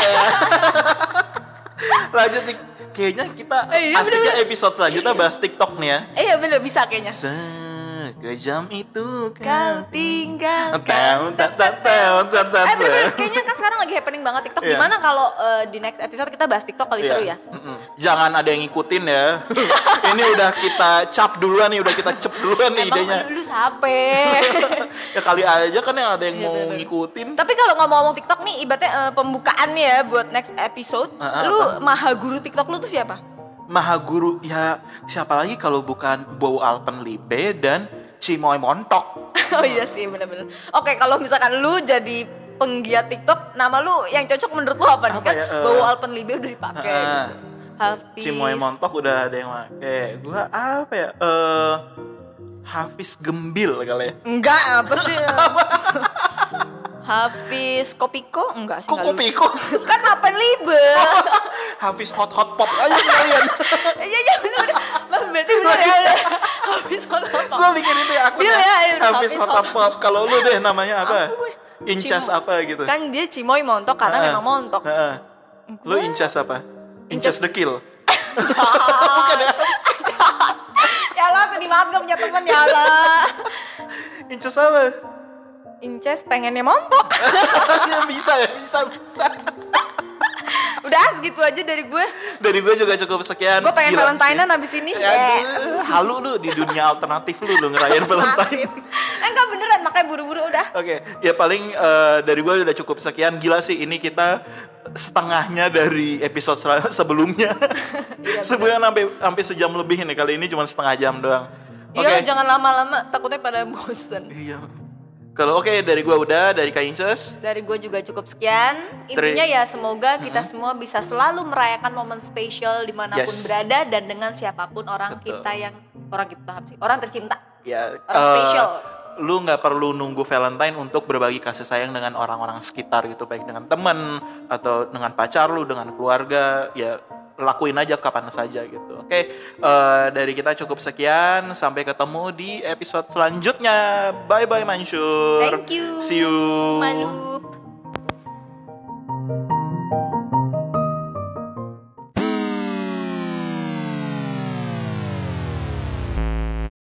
[SPEAKER 1] lanjut nih. Kayaknya kita
[SPEAKER 2] Eh, iya,
[SPEAKER 1] asiknya
[SPEAKER 2] bener-bener.
[SPEAKER 1] episode selanjutnya bahas TikTok nih ya.
[SPEAKER 2] Eh, Iya bener bisa kayaknya.
[SPEAKER 1] Sekejam itu
[SPEAKER 2] Kau
[SPEAKER 1] kan.
[SPEAKER 2] tinggalkan.
[SPEAKER 1] Tahu, tak, tak, tahu, tak, tak,
[SPEAKER 2] Eh bener,
[SPEAKER 1] tak.
[SPEAKER 2] kayaknya kan sekarang lagi happening banget TikTok.
[SPEAKER 1] Iya.
[SPEAKER 2] Gimana kalau eh, di next episode kita bahas TikTok kali seru
[SPEAKER 1] Iya.
[SPEAKER 2] ya?
[SPEAKER 1] Mm-mm. Jangan ada yang ngikutin ya. *laughs* Ini udah kita cap duluan nih, udah kita cep duluan nih Iya, idenya.
[SPEAKER 2] Emang lu, lu sape. *laughs*
[SPEAKER 1] Ya kali aja kan yang ada yang
[SPEAKER 2] Iya,
[SPEAKER 1] mau
[SPEAKER 2] bener-bener.
[SPEAKER 1] ngikutin.
[SPEAKER 2] Tapi kalau ngomong-ngomong TikTok nih, ibaratnya eh, pembukaan nih ya buat next episode.
[SPEAKER 1] Ah, ah,
[SPEAKER 2] lu maha guru TikTok lu tuh siapa?
[SPEAKER 1] Maha Guru ya siapa lagi kalau bukan Bowo Alpenlibe dan Cimoy Montok.
[SPEAKER 2] *laughs* Oh iya sih bener-bener. Oke kalau misalkan lu jadi penggiat TikTok, nama lu yang cocok menurut lu apa nih
[SPEAKER 1] Apa
[SPEAKER 2] kan?
[SPEAKER 1] ya, eh.
[SPEAKER 2] Bawa Alpenlibe udah dipakai.
[SPEAKER 1] Ah.
[SPEAKER 2] gitu. Hafiz.
[SPEAKER 1] Cimoy Montok udah ada yang make. Gua apa ya? Eh Hafiz Gembil kali ya.
[SPEAKER 2] Enggak apa
[SPEAKER 1] *laughs*
[SPEAKER 2] sih? Hafiz Kopiko enggak sih?
[SPEAKER 1] Kok
[SPEAKER 2] enggak
[SPEAKER 1] kopi kok?
[SPEAKER 2] lucu. *laughs* kan Alpenlibe.
[SPEAKER 1] *laughs* Hafiz Hot Hot Pop aja sekalian.
[SPEAKER 2] Iya iya bener. Mas berarti bener ya. *laughs* Hafiz Kopiko.
[SPEAKER 1] *laughs* Gua mikir itu ya aku
[SPEAKER 2] Bil ya, iya,
[SPEAKER 1] Hafiz
[SPEAKER 2] Hafiz
[SPEAKER 1] Hot
[SPEAKER 2] Hot
[SPEAKER 1] Hot Pop. Kalau lu deh namanya apa?
[SPEAKER 2] Apa gue?
[SPEAKER 1] Incas
[SPEAKER 2] Cimoy.
[SPEAKER 1] apa gitu?
[SPEAKER 2] Kan dia Cimoy montok karena
[SPEAKER 1] Heeh.
[SPEAKER 2] memang montok.
[SPEAKER 1] Heeh. Lu
[SPEAKER 2] Gua-
[SPEAKER 1] incas apa? Incas
[SPEAKER 2] Incas-
[SPEAKER 1] the kill.
[SPEAKER 2] Bukan ya? ya Allah sedih banget gak punya temen ya Allah.
[SPEAKER 1] Incas apa?
[SPEAKER 2] Inces pengennya montok.
[SPEAKER 1] *laughs* bisa ya, bisa, bisa.
[SPEAKER 2] Udah segitu aja dari gue.
[SPEAKER 1] Dari gue juga cukup sekian.
[SPEAKER 2] Gue pengen
[SPEAKER 1] Gila.
[SPEAKER 2] Valentinean abis ini.
[SPEAKER 1] Ya, aduh, halu lu di dunia alternatif lu lu ngerayain Valentine.
[SPEAKER 2] Valentine. Eh, Enggak beneran makanya buru-buru udah.
[SPEAKER 1] Oke, ya paling eh, dari gue udah cukup sekian. Gila sih ini kita setengahnya dari episode sel- *laughs* sebelumnya. *laughs*
[SPEAKER 2] Iya,
[SPEAKER 1] sebelumnya sampai sampai sejam lebih ini kali ini cuma setengah jam doang.
[SPEAKER 2] Iya lo jangan lama-lama takutnya pada bosen.
[SPEAKER 1] Iya. Kalau oke dari gue udah dari Kak Inces.
[SPEAKER 2] Dari gue juga cukup sekian. Intinya ya semoga
[SPEAKER 1] Mm-hmm.
[SPEAKER 2] kita semua bisa selalu merayakan momen spesial dimanapun
[SPEAKER 1] Yes.
[SPEAKER 2] berada dan dengan siapapun orang
[SPEAKER 1] Betul.
[SPEAKER 2] kita yang orang kita apa sih orang tercinta.
[SPEAKER 1] Ya,
[SPEAKER 2] Orang
[SPEAKER 1] eh,
[SPEAKER 2] spesial.
[SPEAKER 1] Lu nggak perlu nunggu Valentine untuk berbagi kasih sayang dengan orang-orang sekitar gitu, baik dengan teman atau dengan pacar lu, dengan keluarga, ya lakuin aja kapan saja gitu. Oke, eh, dari kita cukup sekian. Sampai ketemu di episode selanjutnya. Bye bye Mansur.
[SPEAKER 2] Thank you.
[SPEAKER 1] See you.
[SPEAKER 2] Malu.